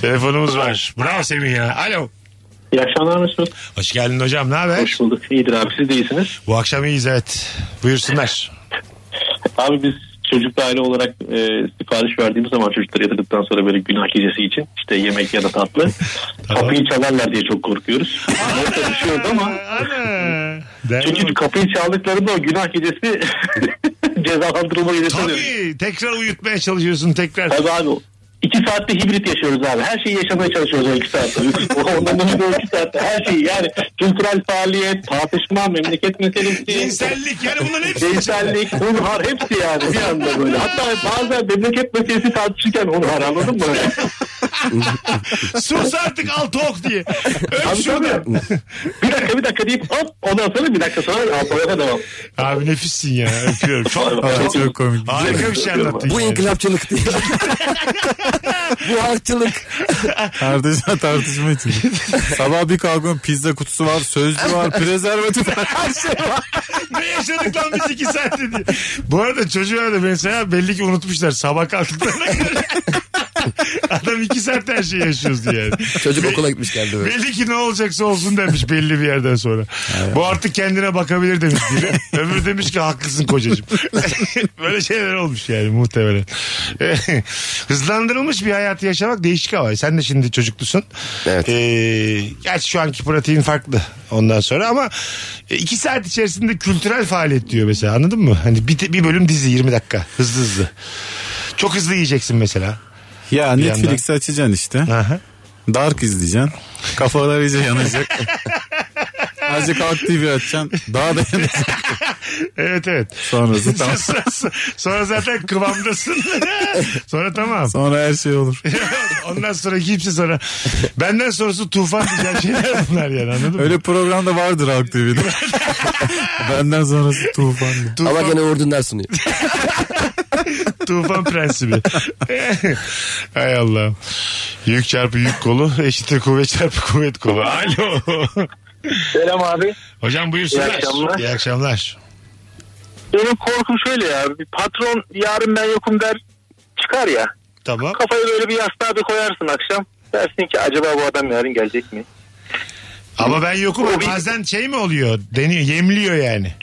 Speaker 1: Telefonumuz var. Bravo Semih ya. Alo.
Speaker 5: İyi akşamlar Mesut.
Speaker 1: Hoş geldin hocam. Ne haber?
Speaker 5: Hoş bulduk. İyidir abi siz de iyisiniz.
Speaker 1: Bu akşam iyiyiz evet. Buyursunlar.
Speaker 5: Abi biz çocuklu aile olarak e, sipariş verdiğimiz zaman çocukları yatırdıktan sonra böyle günah gecesi için işte yemek ya da <laughs> tatlı kapıyı çalarlar diye çok korkuyoruz. Neyse düşüyoruz ama
Speaker 1: Ana. Derdi
Speaker 5: çünkü
Speaker 1: bak.
Speaker 5: kapıyı çaldıklarında o günah gecesi <laughs> cezalandırılma gecesi oluyor.
Speaker 1: Tabii tekrar uyutmaya çalışıyorsun tekrar.
Speaker 5: Tabii abi iki saatte hibrit yaşıyoruz abi. Her şeyi yaşamaya çalışıyoruz o iki <laughs> saatte. Ondan önce o iki saatte her şeyi yani kültürel faaliyet, tartışma, memleket meselesi.
Speaker 1: Cinsellik yani bunların
Speaker 5: <laughs>
Speaker 1: hepsi.
Speaker 5: Cinsellik, hunhar hepsi yani bir anda böyle. Hatta bazen memleket meselesi tartışırken hunhar anladın mı?
Speaker 1: Sus artık al tok diye. Öp
Speaker 5: Abi
Speaker 1: şunu.
Speaker 5: tabii. bir dakika bir dakika deyip hop ondan sonra bir dakika sonra alfabete devam.
Speaker 1: Abi nefissin ya öpüyorum. Çok,
Speaker 2: Evet, çok komik.
Speaker 1: harika bir şey anlattın.
Speaker 3: Bu
Speaker 1: yani. <laughs>
Speaker 3: inkılapçılık değil. Bu halkçılık.
Speaker 2: Tartışma tartışma için. Sabah bir kalkıyorum pizza kutusu var, sözlü
Speaker 1: <laughs>
Speaker 2: var, prezervatif var. Her şey var.
Speaker 1: ne yaşadık lan biz iki saatte diye. Bu arada çocuğa da mesela belli ki unutmuşlar sabah kalktıklarına göre. <laughs> Adam iki saatte her şeyi yaşıyoruz diye. yani.
Speaker 3: Çocuk okula gitmiş geldi böyle.
Speaker 1: Belli ki ne olacaksa olsun demiş belli bir yerden sonra. Bu artık kendine bakabilir demiş biri. <laughs> Öbürü demiş ki haklısın kocacığım. <laughs> Böyle şeyler olmuş yani muhtemelen. <laughs> Hızlandırılmış bir hayatı yaşamak değişik ama. Sen de şimdi çocuklusun.
Speaker 3: Evet.
Speaker 1: Ee, gerçi şu anki pratiğin farklı ondan sonra ama e, iki saat içerisinde kültürel faaliyet diyor mesela anladın mı? Hani bir, bir bölüm dizi 20 dakika hızlı hızlı. Çok hızlı yiyeceksin mesela.
Speaker 2: Ya
Speaker 1: Bir yandan.
Speaker 2: Netflix'i açacaksın işte.
Speaker 1: Aha.
Speaker 2: Dark izleyeceksin. Kafalar iyice yanacak. Azıcık aktif açacaksın. Daha da yanacak.
Speaker 1: Evet evet. <laughs>
Speaker 2: Sonrası tamam.
Speaker 1: Sonra- sonra zaten kıvamdasın. <laughs> sonra tamam. <laughs>
Speaker 2: Sonra her şey olur.
Speaker 1: Ondan sonra kimse sonra benden sonrası tufan diyeceğim şeyler bunlar yani anladın mı?
Speaker 2: Öyle programda vardır
Speaker 1: <laughs>
Speaker 2: Halk TV'de. Benden sonrası tufan. diye.
Speaker 1: Tufan,
Speaker 3: Ama gene Uğur Dündar sunuyor.
Speaker 1: tufan prensibi. Hay Allah. Yük çarpı yük kolu eşittir kuvvet çarpı kuvvet kolu. Alo.
Speaker 5: Selam abi.
Speaker 1: Hocam buyursunlar.
Speaker 5: İyi akşamlar.
Speaker 1: İyi akşamlar.
Speaker 5: Benim korkum şöyle ya bir patron yarın ben yokum der çıkar ya.
Speaker 1: Tamam.
Speaker 5: Kafayı böyle bir yastığa bir koyarsın akşam. Dersin ki acaba bu adam yarın gelecek mi?
Speaker 1: Ama ben yokum.
Speaker 5: O bir-
Speaker 1: Bazen şey mi oluyor? Deniyor, yemliyor yani.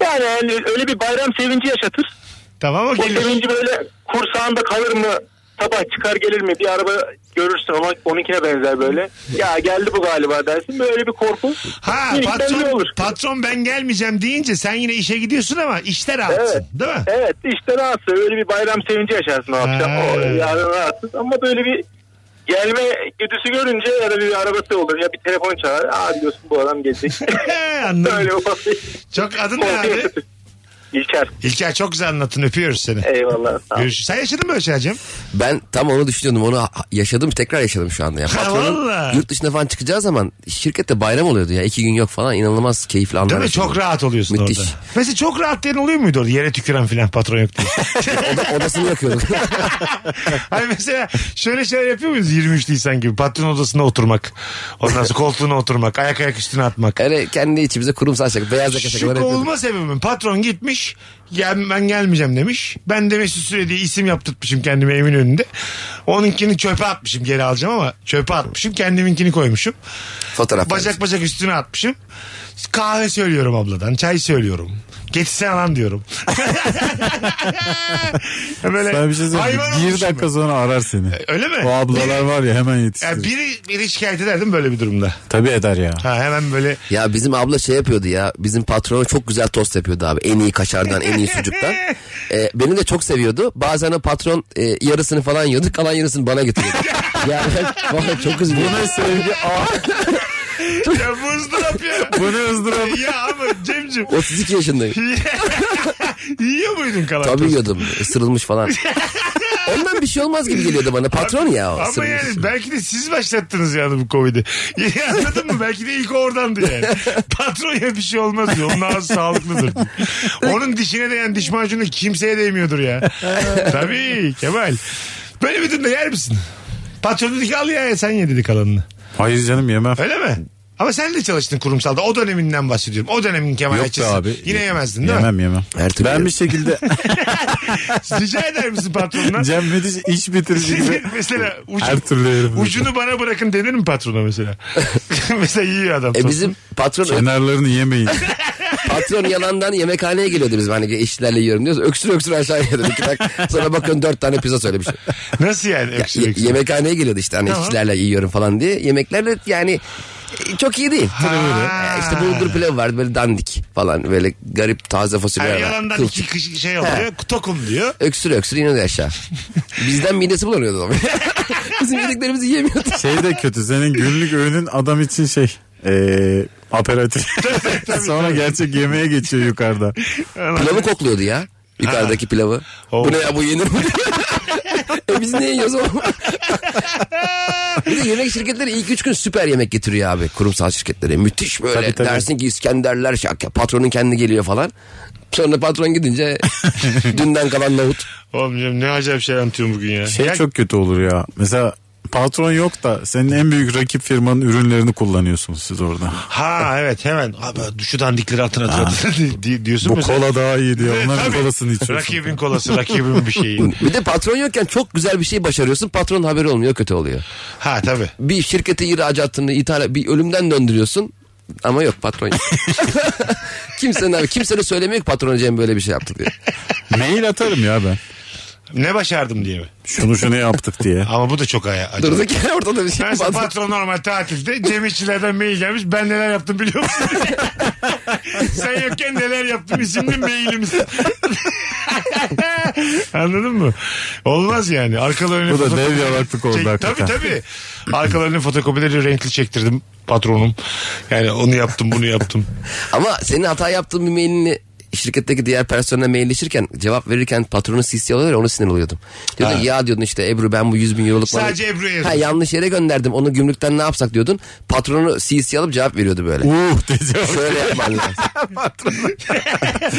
Speaker 5: Yani, yani öyle bir bayram sevinci yaşatır.
Speaker 1: Tamam o
Speaker 5: O
Speaker 1: gelir.
Speaker 5: sevinci böyle kursağında kalır mı? Sabah çıkar gelir mi? Bir araba görürsün ama onunkine benzer böyle. Ya geldi bu galiba dersin. Böyle bir korku.
Speaker 1: Ha
Speaker 5: Minikten ne
Speaker 1: patron,
Speaker 5: olur?
Speaker 1: patron ben gelmeyeceğim deyince sen yine işe gidiyorsun ama işte rahatsın. Değil mi?
Speaker 5: Evet işte rahatsız. Öyle bir bayram sevinci yaşarsın o akşam.
Speaker 1: Ha.
Speaker 5: O yarın rahatsız. Ama böyle bir gelme güdüsü görünce ya da bir arabası olur ya bir telefon çalar. Aa diyorsun bu adam gelecek.
Speaker 1: <laughs> Anladım.
Speaker 5: Öyle ufak bir
Speaker 1: Çok adın ne abi?
Speaker 4: İlker.
Speaker 1: İlker çok güzel anlattın öpüyoruz seni.
Speaker 4: Eyvallah. Sağ ol.
Speaker 1: Görüşürüz. Sen yaşadın mı böyle şeylercim?
Speaker 3: Ben tam onu düşünüyordum. Onu ha- yaşadım tekrar yaşadım şu anda. Ya.
Speaker 1: Ha,
Speaker 3: Patronum
Speaker 1: vallahi.
Speaker 3: yurt dışına falan çıkacağı zaman şirkette bayram oluyordu ya. iki gün yok falan inanılmaz keyifli anlar.
Speaker 1: Değil mi?
Speaker 3: yaşadım.
Speaker 1: Çok rahat oluyorsun
Speaker 3: Müthiş.
Speaker 1: orada. Mesela çok rahat diyen oluyor muydu orada? Yere tüküren filan patron yok
Speaker 3: <laughs>
Speaker 1: diye.
Speaker 3: Oda- odasını yakıyorduk. <laughs>
Speaker 1: Hani mesela şöyle şeyler yapıyor muyuz 23 Nisan gibi? Patron odasına oturmak. Ondan
Speaker 3: <laughs>
Speaker 1: sonra koltuğuna oturmak. Ayak ayak üstüne atmak.
Speaker 3: Öyle kendi içimize kurumsal şaka. Beyaz yaka şakalar
Speaker 1: Şu
Speaker 3: yapıyorduk.
Speaker 1: kovulma sebebim. Patron gitmiş. Gel, ben gelmeyeceğim demiş. Ben de Mesut Süre diye isim yaptırtmışım kendime evin önünde. Onunkini çöpe atmışım geri alacağım ama çöpe atmışım. Kendiminkini koymuşum.
Speaker 3: Fotoğraf.
Speaker 1: Bacak bacak üstüne atmışım. Kahve söylüyorum abladan. Çay söylüyorum. Geçsene lan diyorum. <laughs> Böyle
Speaker 2: Ben bir şey söyleyeyim.
Speaker 1: hayvan
Speaker 2: Bir
Speaker 1: olmuşum
Speaker 2: dakika sonra arar seni.
Speaker 1: Öyle mi?
Speaker 2: O ablalar var ya hemen yetiştirir.
Speaker 1: Yani biri, biri şikayet eder değil mi böyle bir durumda?
Speaker 2: Tabii eder ya.
Speaker 1: Ha, hemen böyle
Speaker 3: Ya bizim abla şey yapıyordu ya. Bizim patrona çok güzel tost yapıyordu abi. En iyi kaşardan, en iyi
Speaker 1: <laughs>
Speaker 3: sucuktan. Ee, beni de çok seviyordu. Bazen o patron e, yarısını falan yiyordu. Kalan yarısını
Speaker 1: <laughs>
Speaker 3: bana getiriyordu. ya ben valla çok üzülüyorum.
Speaker 2: sevgi
Speaker 3: <laughs>
Speaker 1: ya bu ızdırap ya.
Speaker 2: <laughs> Bu ne ızdırap?
Speaker 1: ya ama Cem'cim
Speaker 3: 32 yaşındayım.
Speaker 1: <laughs> yiyor muydun kalan
Speaker 3: Tabii
Speaker 1: tostu?
Speaker 3: yiyordum. Isırılmış
Speaker 1: <laughs>
Speaker 3: falan. Ondan bir şey olmaz gibi geliyordu bana. Patron ya o.
Speaker 1: Ama
Speaker 3: ısırılmış.
Speaker 1: yani belki de siz başlattınız yani bu Covid'i. <laughs> Ya Anladın mı? Belki de ilk oradandı yani.
Speaker 2: <laughs>
Speaker 1: Patron ya bir şey olmaz diyor. Onun ağzı sağlıklıdır. diyor. Onun dişine değen diş macunu kimseye değmiyordur ya. Tabii Kemal. Böyle bir durumda yer misin? Patron dedi ki al ya sen ye dedi kalanını.
Speaker 2: Hayır canım yemem.
Speaker 1: Öyle mi? Ama sen de çalıştın kurumsalda. O döneminden bahsediyorum. O dönemin Kemal
Speaker 2: Yok be
Speaker 1: Ayça'sı.
Speaker 2: abi.
Speaker 1: Yine yemezdin değil mi?
Speaker 2: Yemem yemem.
Speaker 3: Her türlü
Speaker 2: ben
Speaker 3: yerim.
Speaker 2: bir
Speaker 1: <laughs>
Speaker 2: şey şekilde
Speaker 1: Rica eder misin
Speaker 2: <laughs>
Speaker 1: patronuna?
Speaker 2: Cem Müthiş iş
Speaker 1: <laughs>
Speaker 2: bitirici gibi
Speaker 1: mesela ucu-
Speaker 2: her türlü yerim.
Speaker 1: ucunu bana bırakın denir mi patrona mesela? <laughs> mesela yiyor adam.
Speaker 3: E
Speaker 1: tostu.
Speaker 3: bizim patron
Speaker 2: Şey, Kenarlarını yemeyin.
Speaker 3: patron yalandan yemekhaneye geliyordu bizim hani işlerle yiyorum diyoruz. Öksür öksür aşağıya geliyordu. İki dakika. Sonra bakın dört tane pizza söylemiş.
Speaker 1: Nasıl yani?
Speaker 3: Ya,
Speaker 1: Öksürük.
Speaker 3: ye- yemekhaneye geliyordu işte hani
Speaker 1: Tamam.
Speaker 3: işlerle yiyorum falan diye. Yemeklerle yani e, çok iyi değil.
Speaker 1: Ha.
Speaker 3: E, İşte bulgur pilav vardı böyle dandik falan böyle garip taze
Speaker 1: Yani
Speaker 3: fasulyeler var.
Speaker 1: yalandan
Speaker 3: Kılçık.
Speaker 1: iki kişi şey oluyor. Tokum diyor.
Speaker 3: Öksür öksür iniyordu
Speaker 1: <laughs>
Speaker 3: aşağı. Bizden midesi bulanıyordu ama. <laughs> Bizim yediklerimizi yemiyordu.
Speaker 2: şey de kötü senin günlük öğünün adam için şey. Eee
Speaker 1: <laughs>
Speaker 2: aperatif. Sonra gerçek yemeğe geçiyor yukarıda.
Speaker 3: Pilavı kokluyordu ya. Yukarıdaki pilavı.
Speaker 1: Oo.
Speaker 3: Bu ne ya bu yenir mi? <laughs> e biz ne yiyoruz oğlum? bir de yemek şirketleri ilk üç gün süper yemek getiriyor abi. Kurumsal şirketlere. Müthiş böyle.
Speaker 2: Tabii, tabii.
Speaker 3: Dersin ki İskenderler şaka. Patronun kendi geliyor falan. Sonra patron
Speaker 2: <laughs>
Speaker 3: gidince dünden kalan nohut.
Speaker 1: Oğlum canım ne acayip şey anlatıyorum bugün ya.
Speaker 2: Şey
Speaker 1: ya
Speaker 2: çok kötü olur ya. Mesela patron yok da senin en büyük rakip firmanın ürünlerini kullanıyorsunuz siz orada.
Speaker 1: Ha evet hemen. Abi şu dandikleri atın atın atın <laughs> di- diyorsun
Speaker 2: Bu
Speaker 1: mesela.
Speaker 2: kola daha iyi diyor.
Speaker 1: Evet,
Speaker 2: Onların
Speaker 1: tabii.
Speaker 2: kolasını içiyorsun.
Speaker 1: Rakibin kolası, rakibin bir şeyi.
Speaker 3: <laughs> Bir de patron yokken çok güzel bir şey başarıyorsun. Patronun haberi olmuyor kötü oluyor.
Speaker 1: ha tabii.
Speaker 3: Bir şirkete ihracatını ithal bir ölümden döndürüyorsun. Ama yok patron
Speaker 2: <laughs>
Speaker 3: yok. <laughs> kimsenin abi kimsene söylemiyor ki patrona Cem böyle bir şey yaptı diye.
Speaker 2: Mail atarım ya ben.
Speaker 1: Ne başardım diye mi?
Speaker 2: Şunu şunu yaptık
Speaker 1: <laughs>
Speaker 2: diye.
Speaker 1: Ama bu da çok aya- acayip.
Speaker 3: Durduk ya ortada bir şey.
Speaker 1: Mesela
Speaker 3: Bazı-
Speaker 1: patron normal tatilde Cem İşçilerden mail gelmiş ben neler yaptım biliyor musun? <laughs> Sen yokken neler yaptım isimli mailimiz. <laughs> Anladın mı? Olmaz yani. Arkalarını
Speaker 2: Bu da dev yalaklık oldu
Speaker 1: Tabii
Speaker 2: hakikaten.
Speaker 1: tabii. Arkalarını fotokopileri renkli çektirdim patronum. Yani onu yaptım bunu
Speaker 2: <laughs>
Speaker 1: yaptım.
Speaker 3: Ama senin hata yaptığın bir mailini şirketteki diğer personele mailleşirken cevap verirken patronu CC alıyorlar ya, ona sinir oluyordum. Diyordun ki, ya diyordun işte Ebru ben bu 100 bin euroluk malı-
Speaker 1: Sadece Ebru'ya
Speaker 3: Ha,
Speaker 1: yazdım.
Speaker 3: yanlış yere gönderdim onu gümrükten ne yapsak diyordun. Patronu CC alıp cevap veriyordu böyle.
Speaker 2: Uh diyeceğim.
Speaker 3: Şöyle yapman lazım. <laughs>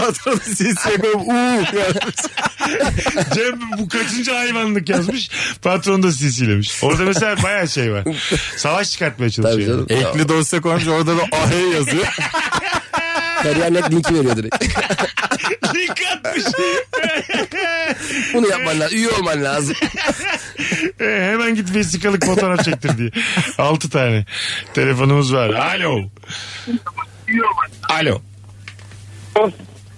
Speaker 2: Patronu sinsiye koyup uh yazmış.
Speaker 1: Cem bu kaçıncı hayvanlık yazmış. Patron da CC'lemiş. Orada mesela bayağı şey var. Savaş çıkartmaya çalışıyor.
Speaker 3: Tabii canım.
Speaker 2: Ekli dosya
Speaker 1: <laughs>
Speaker 2: koymuş orada da ahe yazıyor.
Speaker 3: Kariyer net linki veriyor
Speaker 1: <laughs>
Speaker 3: direkt.
Speaker 1: Link atmış.
Speaker 3: <laughs> Bunu yapman lazım. Üye olman lazım.
Speaker 1: E, hemen git vesikalık fotoğraf çektir diye. 6 tane. Telefonumuz var. Alo. Alo.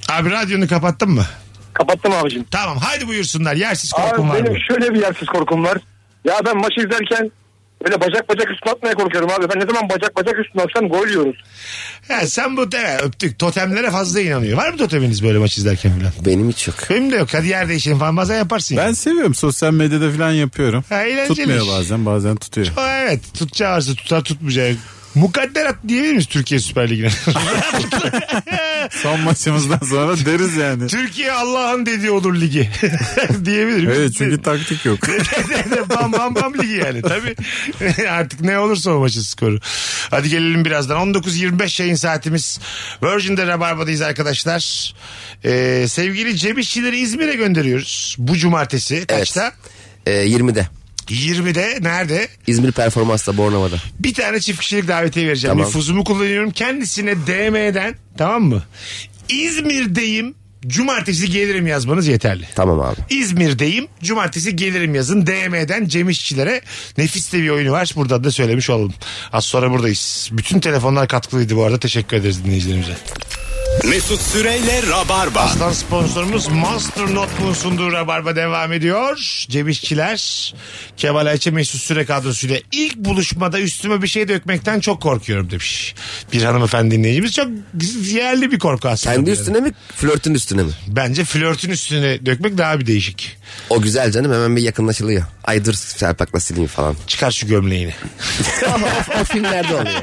Speaker 1: Abi radyonu kapattın mı?
Speaker 8: Kapattım abicim.
Speaker 1: Tamam haydi buyursunlar. Yersiz korkum
Speaker 8: Abi
Speaker 1: var
Speaker 8: benim
Speaker 1: mı?
Speaker 8: şöyle bir yersiz korkum var. Ya ben maç izlerken böyle bacak bacak üstüne atmaya korkuyorum abi. Ben ne zaman bacak bacak üstüne atsam gol yiyoruz.
Speaker 1: He, sen bu evet, öptük. Totemlere fazla inanıyor. Var mı toteminiz böyle maç izlerken falan?
Speaker 3: Benim hiç yok.
Speaker 1: Benim de yok. Hadi yer değişelim falan. Bazen yaparsın.
Speaker 2: Ben
Speaker 1: yani.
Speaker 2: seviyorum sosyal medyada falan yapıyorum.
Speaker 1: Ha, eğlenceli
Speaker 2: Tutmuyor
Speaker 1: iş.
Speaker 2: bazen bazen tutuyor.
Speaker 1: O, evet. Tutacağı varsa tutar tutmayacağı Mukadderat diyebilir miyiz Türkiye Süper Ligi'ne? <laughs>
Speaker 2: Son maçımızdan sonra deriz yani.
Speaker 1: Türkiye Allah'ın dediği olur ligi. <laughs> diyebilir miyiz?
Speaker 2: Evet çünkü taktik yok.
Speaker 1: <laughs> bam bam bam ligi yani tabii. <laughs> Artık ne olursa o maçın skoru. Hadi gelelim birazdan. 19.25 yayın saatimiz. Virgin'de Rabarba'dayız arkadaşlar. Ee, sevgili Cem İşçileri İzmir'e gönderiyoruz. Bu cumartesi kaçta?
Speaker 3: Ee, 20'de.
Speaker 1: 20'de nerede?
Speaker 3: İzmir performansla Bornova'da.
Speaker 1: Bir tane çift kişilik davetiye vereceğim.
Speaker 3: Tamam.
Speaker 1: Nüfuzumu kullanıyorum. Kendisine DM'den tamam mı? İzmir'deyim. Cumartesi gelirim yazmanız yeterli.
Speaker 3: Tamam abi.
Speaker 1: İzmir'deyim. Cumartesi gelirim yazın. DM'den Cem İşçilere nefis de bir oyunu var. Buradan da söylemiş olalım. Az sonra buradayız. Bütün telefonlar katkılıydı bu arada. Teşekkür ederiz dinleyicilerimize.
Speaker 6: Mesut Süreyle Rabarba.
Speaker 1: Aslan sponsorumuz Monster Notebook'un sunduğu Rabarba devam ediyor. Cem İşçiler, Kemal Ayça Mesut Süre kadrosuyla ilk buluşmada üstüme bir şey dökmekten çok korkuyorum demiş. Bir hanımefendi dinleyicimiz çok yerli bir korku aslında.
Speaker 3: Kendi
Speaker 1: Yani.
Speaker 3: üstüne mi flörtün üstüne mi?
Speaker 1: Bence flörtün üstüne dökmek daha bir değişik.
Speaker 3: O güzel canım hemen bir yakınlaşılıyor. Ay dur serpakla sileyim falan.
Speaker 1: Çıkar şu gömleğini.
Speaker 3: <laughs> o, o
Speaker 1: <laughs>
Speaker 3: filmlerde oluyor.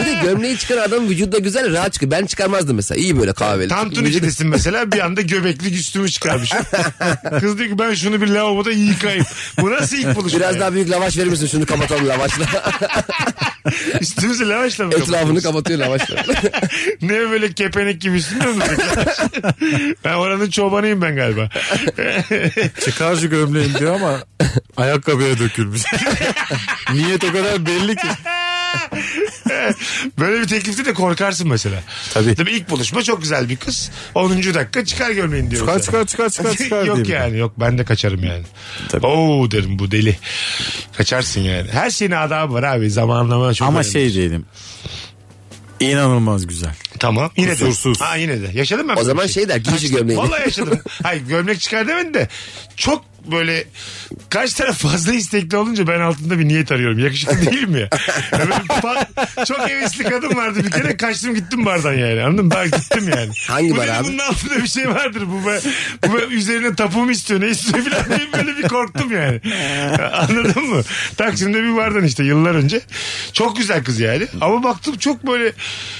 Speaker 3: bir de gömleği çıkaran adam vücuda güzel rahat çıkıyor. Ben çıkarmazdım mesela. İyi böyle kahveli.
Speaker 1: Tam Tunici'desin mesela bir anda göbekli üstümü çıkarmışım. Kız diyor ki ben şunu bir lavaboda yıkayayım. Bu nasıl ilk buluşma?
Speaker 3: Biraz
Speaker 1: ya?
Speaker 3: daha büyük lavaş verir misin? Şunu
Speaker 1: <laughs>
Speaker 3: kapatalım lavaşla. <laughs>
Speaker 1: Üstümüzü lavaşla mı kapatıyoruz?
Speaker 3: Etrafını kapatıyor lavaşla.
Speaker 1: Ne böyle kepenek gibi üstünde mi? ben oranın çobanıyım ben galiba.
Speaker 2: Çıkar şu gömleğini
Speaker 1: <laughs>
Speaker 2: diyor ama ayakkabıya dökülmüş. Niyet o kadar belli ki.
Speaker 1: böyle bir teklifte de korkarsın mesela.
Speaker 2: Tabii.
Speaker 1: Tabii ilk buluşma çok güzel bir kız. 10. dakika çıkar gömleğini diyor.
Speaker 2: Çıkar
Speaker 1: mesela.
Speaker 2: çıkar çıkar
Speaker 1: <laughs>
Speaker 2: çıkar çıkar
Speaker 1: yok
Speaker 2: diye.
Speaker 1: yani yok ben de kaçarım yani.
Speaker 2: Tabii.
Speaker 1: Oo derim bu deli. Kaçarsın yani. Her şeyin adabı var abi zamanlama çok
Speaker 2: Ama
Speaker 1: önemli.
Speaker 2: şey diyelim. İnanılmaz güzel.
Speaker 1: Tamam. Yine
Speaker 2: Kusursuz.
Speaker 1: de. Ha yine de. Yaşadım ben.
Speaker 3: O
Speaker 1: böyle
Speaker 3: zaman
Speaker 1: bir
Speaker 3: şey der, giy şu
Speaker 1: Kaç-
Speaker 3: gömleğini.
Speaker 1: Vallahi yaşadım. Hayır gömlek çıkar demedin de çok böyle kaç taraf fazla istekli olunca ben altında bir niyet arıyorum. Yakışıklı değil mi? ya? Ya böyle pa- çok hevesli kadın vardı bir kere kaçtım gittim bardan yani anladın mı? Ben gittim yani.
Speaker 3: Hangi
Speaker 1: bu
Speaker 3: bar
Speaker 1: dedi,
Speaker 3: abi?
Speaker 1: Bunun altında bir şey vardır. Bu, be, bu be- üzerine tapu mu istiyor ne istiyor falan diye böyle bir korktum yani. Anladın mı? Taksim'de bir bardan işte yıllar önce. Çok güzel kız yani. Ama baktım çok böyle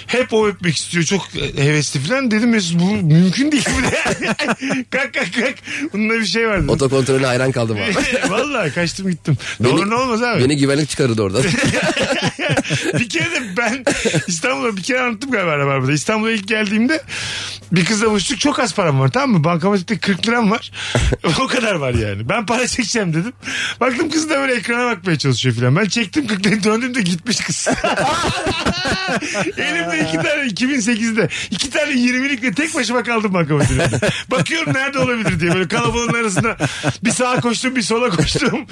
Speaker 1: hep o öpmek istiyor. Çok hevesli falan. Dedim Mesut bu mümkün değil. Bu ne? <laughs> kalk kalk kalk. Bunda bir şey <laughs> var dedim.
Speaker 3: Otokontrolüne hayran
Speaker 1: <laughs>
Speaker 3: kaldım abi.
Speaker 1: Vallahi kaçtım gittim. Doğru ne olmaz abi.
Speaker 3: Beni güvenlik
Speaker 1: <laughs>
Speaker 3: çıkarırdı oradan.
Speaker 1: bir kere de ben İstanbul'a bir kere anlattım galiba Rabarba'da. İstanbul'a ilk geldiğimde bir kızla buluştuk. Çok az param var tamam mı? Bankamatikte 40 liram var. <laughs> o kadar var yani. Ben para çekeceğim dedim. Baktım kız da böyle ekrana bakmaya çalışıyor filan. Ben çektim 40 lirayı döndüm de gitmiş kız. <laughs> Elimde iki tane 2008'de iki tane 20'likle tek başıma kaldım bankamatikte. Bakıyorum nerede olabilir diye böyle kalabalığın arasında bir sağa koştum bir sola koştum.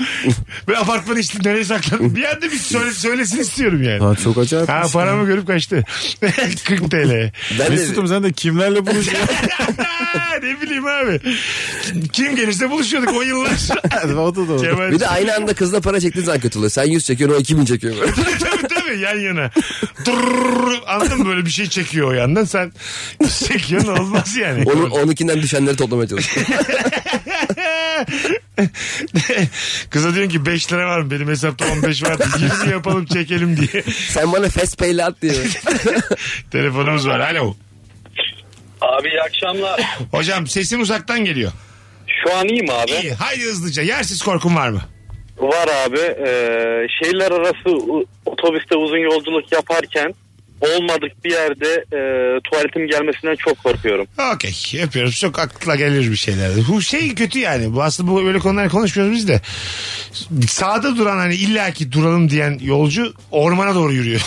Speaker 1: Ve apartmanın işte nereye saklandım. Bir anda bir söyle, söylesin istiyorum yani.
Speaker 2: Lan çok acayip.
Speaker 1: Ha
Speaker 2: bir şey.
Speaker 1: paramı görüp kaçtı. <laughs> 40
Speaker 2: <laughs>
Speaker 1: TL.
Speaker 3: Ben de
Speaker 2: Mesut'um sen de kimlerle buluşuyorsun?
Speaker 1: <laughs> ne bileyim abi. Kim gelirse buluşuyorduk o
Speaker 2: <laughs>
Speaker 1: yıllar.
Speaker 2: o da doğru.
Speaker 1: Kemal-
Speaker 3: bir de aynı anda kızla para çektiğin zaman kötü oluyor. Sen 100 çekiyorsun o 2000 çekiyor.
Speaker 1: <laughs>
Speaker 3: böyle.
Speaker 1: <laughs> tabii tabii tabii yan yana. Durr, anladın mı böyle bir şey çekiyor o yandan sen <laughs> çekiyorsun olmaz yani.
Speaker 3: Onun, onunkinden düşenleri toplamaya çalışıyor.
Speaker 1: <laughs> Kıza diyorsun ki 5 lira var mı benim hesapta 15 var <laughs> 20 yapalım çekelim diye. <laughs>
Speaker 3: Sen bana fast pay'le at diye. böyle.
Speaker 1: Telefonumuz var alo.
Speaker 7: Abi iyi akşamlar.
Speaker 1: Hocam sesin uzaktan geliyor.
Speaker 7: Şu an iyiyim abi.
Speaker 1: İyi haydi hızlıca yersiz korkun var mı?
Speaker 7: Var abi. Ee, şehirler arası u- otobüste uzun yolculuk yaparken olmadık bir yerde e, tuvaletim gelmesinden çok korkuyorum.
Speaker 1: Okey yapıyoruz. Çok akla gelir bir şeyler. Bu şey kötü yani. Bu aslında bu böyle konuları konuşmuyoruz biz de. Sağda duran hani illaki duralım diyen yolcu ormana doğru yürüyor.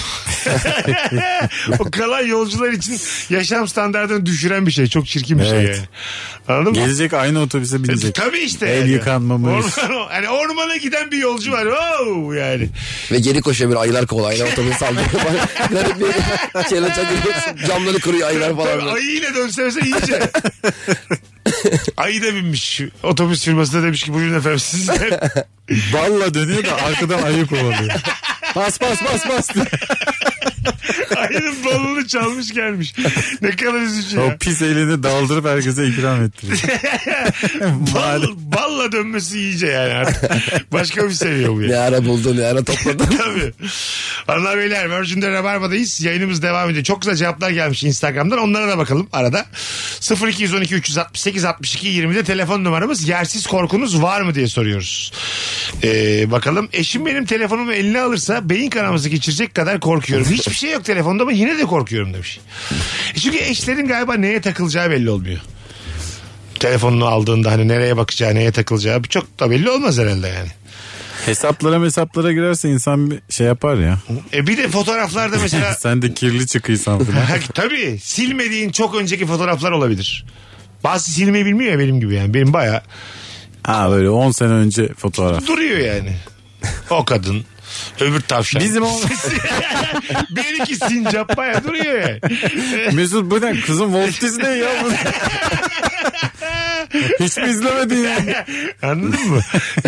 Speaker 1: <laughs> o kalan yolcular için yaşam standartını düşüren bir şey. Çok çirkin bir şey
Speaker 2: Evet.
Speaker 1: yani. Anladın mı?
Speaker 2: Gelecek aynı otobüse binecek.
Speaker 1: Tabii işte.
Speaker 2: El yıkanmamış.
Speaker 1: Orman, <laughs> hani ormana giden bir yolcu var. Wow yani.
Speaker 3: Ve geri koşuyor böyle ayılar kovalayla otobüs saldırıyor.
Speaker 1: <laughs>
Speaker 3: Bak, Garip bir şeyle çakıyor. Camları kırıyor ayılar falan.
Speaker 1: Tabii
Speaker 3: böyle.
Speaker 1: ayıyla dönse mesela iyice.
Speaker 2: <laughs>
Speaker 1: Ayı da binmiş. Otobüs firması da demiş ki buyurun efendim siz de
Speaker 2: Balla dönüyor da arkadan ayı kovalıyor. Bas bas bas bas. diye.
Speaker 1: <laughs> Ayının balonu çalmış gelmiş. Ne kadar üzücü
Speaker 2: o
Speaker 1: ya.
Speaker 2: pis elini daldırıp herkese ikram ettiriyor.
Speaker 1: Bal,
Speaker 2: Madem-
Speaker 1: balla dönmesi iyice yani artık. Başka bir seviye bu
Speaker 3: Ne
Speaker 1: ya.
Speaker 3: ara buldun ne ara topladın. <laughs>
Speaker 1: Tabii. Hanımlar beyler Virgin'de Rabarba'dayız. Yayınımız devam ediyor. Çok güzel cevaplar gelmiş Instagram'dan. Onlara da bakalım arada. 0212 368 62 20'de telefon numaramız. Yersiz korkunuz var mı diye soruyoruz. Ee, bakalım. Eşim benim telefonumu eline alırsa beyin kanaması geçirecek kadar korkuyorum. Hiçbir şey yok telefonda ama yine de korkuyorum demiş. E Çünkü eşlerin galiba neye takılacağı belli olmuyor. Telefonunu aldığında hani nereye bakacağı, neye takılacağı çok da belli olmaz herhalde yani.
Speaker 2: Hesaplara hesaplara girerse insan bir şey yapar ya.
Speaker 1: E bir de fotoğraflarda mesela
Speaker 2: Sen de kirli çıkıysan falan.
Speaker 1: Ha, Tabii silmediğin çok önceki fotoğraflar olabilir. Bazı silmeyi bilmiyor ya benim gibi yani. Benim baya
Speaker 2: Ha böyle 10 sene önce fotoğraf.
Speaker 1: duruyor yani. O kadın. Öbür tavşan.
Speaker 2: Bizim o
Speaker 1: <laughs> Benimki sincap baya duruyor yani.
Speaker 2: Mesut bu ne kızım Walt Disney ya bu. Hiç mi izlemedin ya?
Speaker 1: Anladın mı?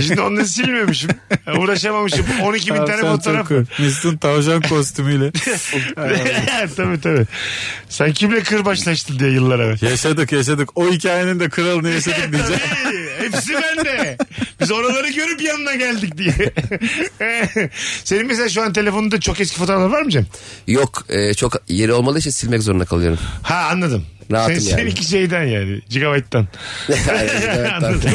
Speaker 1: Şimdi onları silmemişim. Uğraşamamışım. 12 bin tane
Speaker 2: Tavşan
Speaker 1: fotoğraf.
Speaker 2: çok cool. Mesut'un tavşan kostümüyle.
Speaker 1: <laughs> tabii tabii. Sen kimle kırbaçlaştın diye yıllar evvel.
Speaker 2: yaşadık yaşadık. O hikayenin de kralını yaşadık diyeceğim.
Speaker 1: Tabii, Hepsi bende. Biz oraları görüp yanına geldik diye. Senin mesela şu an telefonunda çok eski fotoğraflar var mı Cem?
Speaker 3: Yok e, çok yeri olmadığı için silmek
Speaker 1: <laughs>
Speaker 3: zorunda kalıyorum.
Speaker 1: Ha anladım.
Speaker 3: Rahatım
Speaker 1: Sen,
Speaker 3: yani.
Speaker 1: Seninki şeyden yani. Gigabyte'dan.
Speaker 3: Aynen, gigabyte'dan.
Speaker 1: Anladım.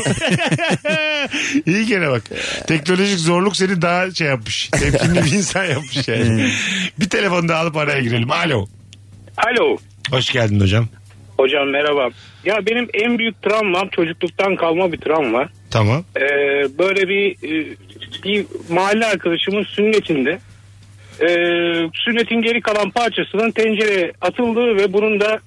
Speaker 1: İyi gene bak. Teknolojik zorluk seni daha şey yapmış. Temkinli bir insan yapmış
Speaker 2: Hmm.
Speaker 1: yani. bir telefon daha alıp araya girelim. Alo.
Speaker 7: Alo.
Speaker 1: Hoş geldin hocam.
Speaker 7: Hocam merhaba. Ya benim en büyük travmam çocukluktan kalma bir travma.
Speaker 1: Tamam.
Speaker 7: Ee, böyle bir e, bir mahalle arkadaşımın sünnetinde e, sünnetin geri kalan parçasının tencereye atıldığı ve bunun da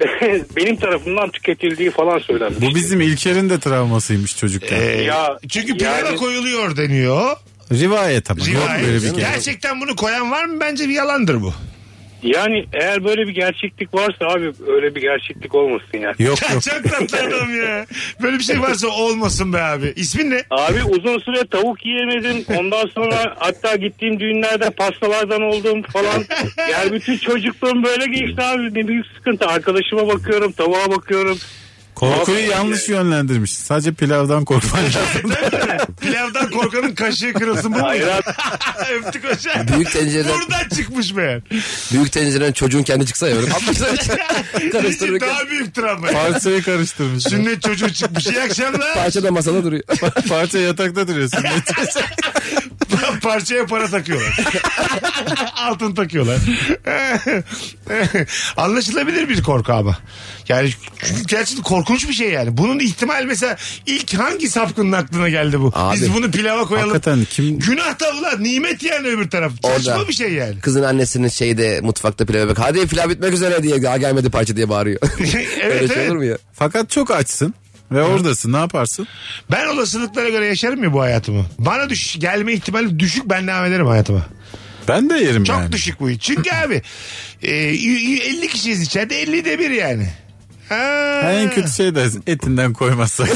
Speaker 7: <laughs> benim tarafından tüketildiği falan söylenmiş.
Speaker 2: Bu bizim İlker'in de travmasıymış çocukken.
Speaker 1: Ee,
Speaker 7: Ya,
Speaker 1: çünkü pilava
Speaker 7: yani-
Speaker 1: koyuluyor deniyor.
Speaker 2: Rivayet ama. Yok
Speaker 1: Rivayet.
Speaker 2: böyle bir kere.
Speaker 1: Gerçekten bunu koyan var mı? Bence bir yalandır bu.
Speaker 7: Yani eğer böyle bir gerçeklik varsa abi öyle bir gerçeklik olmasın yani.
Speaker 2: Yok
Speaker 1: <laughs>
Speaker 2: yok.
Speaker 1: Çok tatlı adam ya. Böyle bir şey varsa olmasın be abi. İsmin ne?
Speaker 7: Abi uzun süre tavuk yiyemedim. Ondan sonra hatta gittiğim düğünlerde pastalardan oldum falan. Yani bütün çocukluğum böyle geçti abi. Ne büyük sıkıntı. Arkadaşıma bakıyorum, tavuğa bakıyorum.
Speaker 2: Korkuyu yanlış yönlendirmiş. Sadece pilavdan korkman lazım.
Speaker 1: Pilavdan korkanın kaşığı kırılsın bu mu?
Speaker 7: Hayır abi.
Speaker 1: <laughs> Öptük hocam.
Speaker 3: Büyük tencereden-
Speaker 1: Buradan çıkmış meğer.
Speaker 3: Büyük tencereden çocuğun kendi çıksa ya böyle.
Speaker 1: <laughs> İçin
Speaker 3: Karıştırırken
Speaker 1: daha büyük travma.
Speaker 2: Parçayı karıştırmış.
Speaker 1: Sünnet çocuğu çıkmış. İyi akşamlar.
Speaker 3: parça da masada duruyor. <laughs>
Speaker 2: Parça yatakta duruyorsun.
Speaker 1: <laughs> Parçaya para takıyorlar. <laughs> Altın takıyorlar. <laughs> Anlaşılabilir bir korku ama. Yani çünkü gerçekten korkunç bir şey yani. Bunun ihtimal mesela ilk hangi sapkının aklına geldi bu?
Speaker 3: Abi.
Speaker 1: Biz bunu pilava koyalım.
Speaker 2: Hakikaten kim
Speaker 1: Günah da ulan nimet yani öbür taraf. Saçma
Speaker 3: Orada.
Speaker 1: bir şey yani.
Speaker 3: Kızın annesinin şeyde mutfakta pilava bak. Hadi pilav bitmek üzere diye daha gelmedi parça diye bağırıyor. <laughs> Öyle
Speaker 1: <laughs>
Speaker 3: şey
Speaker 1: evet.
Speaker 3: olur mu ya?
Speaker 2: Fakat çok açsın ve oradasın ne yaparsın?
Speaker 1: Ben olasılıklara göre yaşarım ya bu hayatımı. Bana düş gelme ihtimali düşük ben devam ederim hayatıma.
Speaker 2: Ben de yerim
Speaker 1: Çok
Speaker 2: yani.
Speaker 1: düşük bu. Çünkü abi e, y- y- 50 kişiyiz içeride 50 de bir yani. Ha.
Speaker 2: En kötü şey de etinden koymazsak.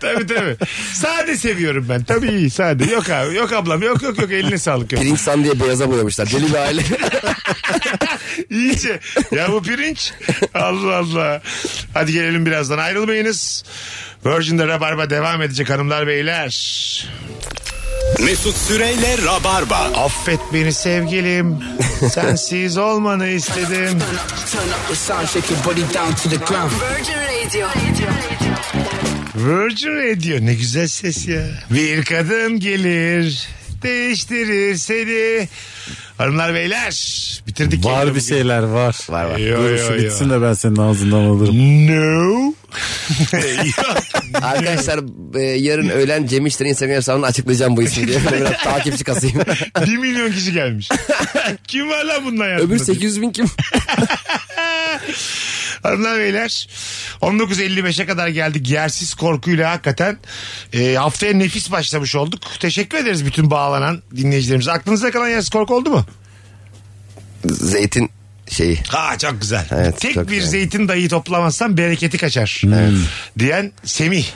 Speaker 1: tabii tabii. Sade seviyorum ben. Tabii sade. Yok abi. Yok ablam. Yok yok yok. Eline sağlık. Yok.
Speaker 3: Pirinç san diye beyaza boyamışlar. Deli bir aile.
Speaker 1: İyice. Ya bu pirinç. Allah Allah. Hadi gelelim birazdan. Ayrılmayınız. Virgin'de Rabarba devam edecek hanımlar beyler.
Speaker 6: Mesut Süreyle Rabarba.
Speaker 1: Affet beni sevgilim. Sensiz olmanı istedim.
Speaker 9: Virgin Radio.
Speaker 1: Virgin Radio ne güzel ses ya. Bir kadın gelir değiştirir seni. Hanımlar beyler bitirdik.
Speaker 2: var
Speaker 1: yayını
Speaker 2: bir
Speaker 1: bugün.
Speaker 2: şeyler var.
Speaker 3: Var, var.
Speaker 2: Yo, Dur
Speaker 1: Yo,
Speaker 2: şu
Speaker 1: yo,
Speaker 2: bitsin
Speaker 1: yo.
Speaker 2: de ben senin ağzından alırım.
Speaker 1: No. Yok.
Speaker 3: Arkadaşlar e, yarın öğlen Cem İşler'in Instagram hesabını açıklayacağım bu ismi diye. Böyle biraz takipçi kasayım.
Speaker 1: 1 milyon kişi
Speaker 2: <laughs>
Speaker 1: gelmiş. kim var lan bunun hayatında?
Speaker 3: Öbür 800 bin kim?
Speaker 1: Hanımlar beyler 19.55'e kadar geldik. Yersiz korkuyla hakikaten e, haftaya nefis başlamış olduk. Teşekkür ederiz bütün bağlanan dinleyicilerimize. Aklınızda kalan yersiz korku oldu mu?
Speaker 3: Zeytin şeyi.
Speaker 1: Ha çok güzel.
Speaker 3: Evet,
Speaker 1: Tek
Speaker 3: çok
Speaker 1: bir
Speaker 3: güzel.
Speaker 1: zeytin dayı toplamazsan bereketi kaçar. Diyen Semih.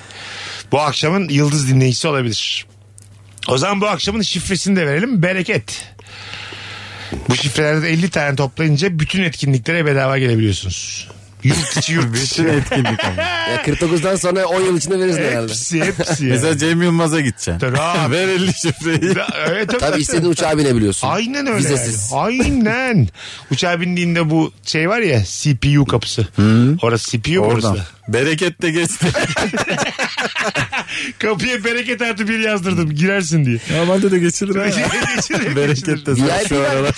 Speaker 1: Bu akşamın yıldız dinleyicisi olabilir. O zaman bu akşamın şifresini de verelim. Bereket. Bu şifrelerde 50 tane toplayınca bütün etkinliklere bedava gelebiliyorsunuz. Yurt içi yurt
Speaker 2: Bütün
Speaker 1: dışı.
Speaker 2: etkinlik ama.
Speaker 3: Ya 49'dan E, sonra 10 yıl içinde
Speaker 1: E,
Speaker 3: verirsin herhalde.
Speaker 1: hepsi hepsi. ya.
Speaker 2: Mesela Cem Yılmaz'a gideceksin.
Speaker 1: Tabii.
Speaker 2: <laughs> Ver 50 şifreyi.
Speaker 1: Ya, evet, tabii.
Speaker 3: Tabii istediğin uçağa binebiliyorsun.
Speaker 1: Aynen öyle.
Speaker 3: Vizesiz.
Speaker 1: yani. Aynen. Uçağa bindiğinde bu şey var ya CPU kapısı. Orası CPU
Speaker 2: Oradan.
Speaker 1: orası.
Speaker 2: Bereket de geçti.
Speaker 1: Kapıya bereket artı bir yazdırdım girersin diye.
Speaker 2: Normalde de <laughs> geçilir ha.
Speaker 1: Geçilir, geçilir.
Speaker 2: Bereket de sen
Speaker 3: VIP
Speaker 2: şu
Speaker 3: var.
Speaker 2: aralar.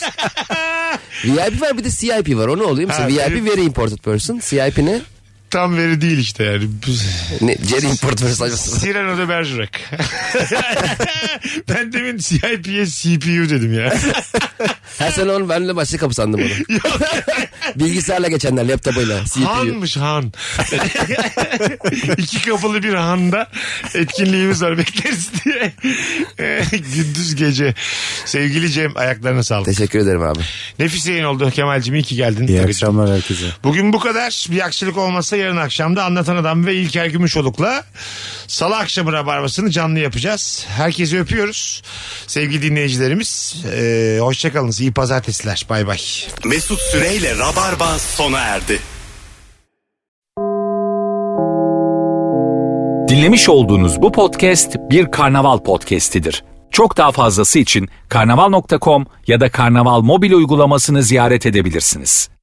Speaker 3: VIP var bir de CIP var. O ne oluyor? Mesela
Speaker 1: Ha,
Speaker 3: VIP
Speaker 1: evet.
Speaker 3: very important person. CIP ne?
Speaker 1: Tam veri değil işte
Speaker 2: <laughs>
Speaker 1: yani.
Speaker 3: ne? Very important person. acaba.
Speaker 1: Cyrano de Bergerac. <laughs> ben demin CIP'ye CPU dedim ya.
Speaker 3: Her sene onun benimle başka kapı sandım onu. <laughs> Bilgisayarla geçenler laptopuyla. CPU.
Speaker 1: Hanmış han. <laughs> İki kapılı bir handa etkinliğimiz var bekleriz diye. <laughs> Gündüz gece. Sevgili Cem ayaklarına sağlık.
Speaker 3: Teşekkür ederim abi.
Speaker 1: Nefis yayın oldu Kemal'cim iyi ki geldin.
Speaker 2: İyi
Speaker 1: Tabii.
Speaker 2: akşamlar herkese.
Speaker 1: Bugün bu kadar. Bir aksilik olmazsa yarın akşamda Anlatan Adam ve İlker Gümüşoluk'la Salı akşamı Rabarbası'nı canlı yapacağız. Herkesi öpüyoruz. Sevgili dinleyicilerimiz. Ee, Hoşçakalınız. İyi pazartesiler. Bay bay.
Speaker 6: Mesut Süreyle Rabarba sona erdi.
Speaker 10: Dinlemiş olduğunuz bu podcast bir karnaval podcastidir. Çok daha fazlası için karnaval.com ya da karnaval mobil uygulamasını ziyaret edebilirsiniz.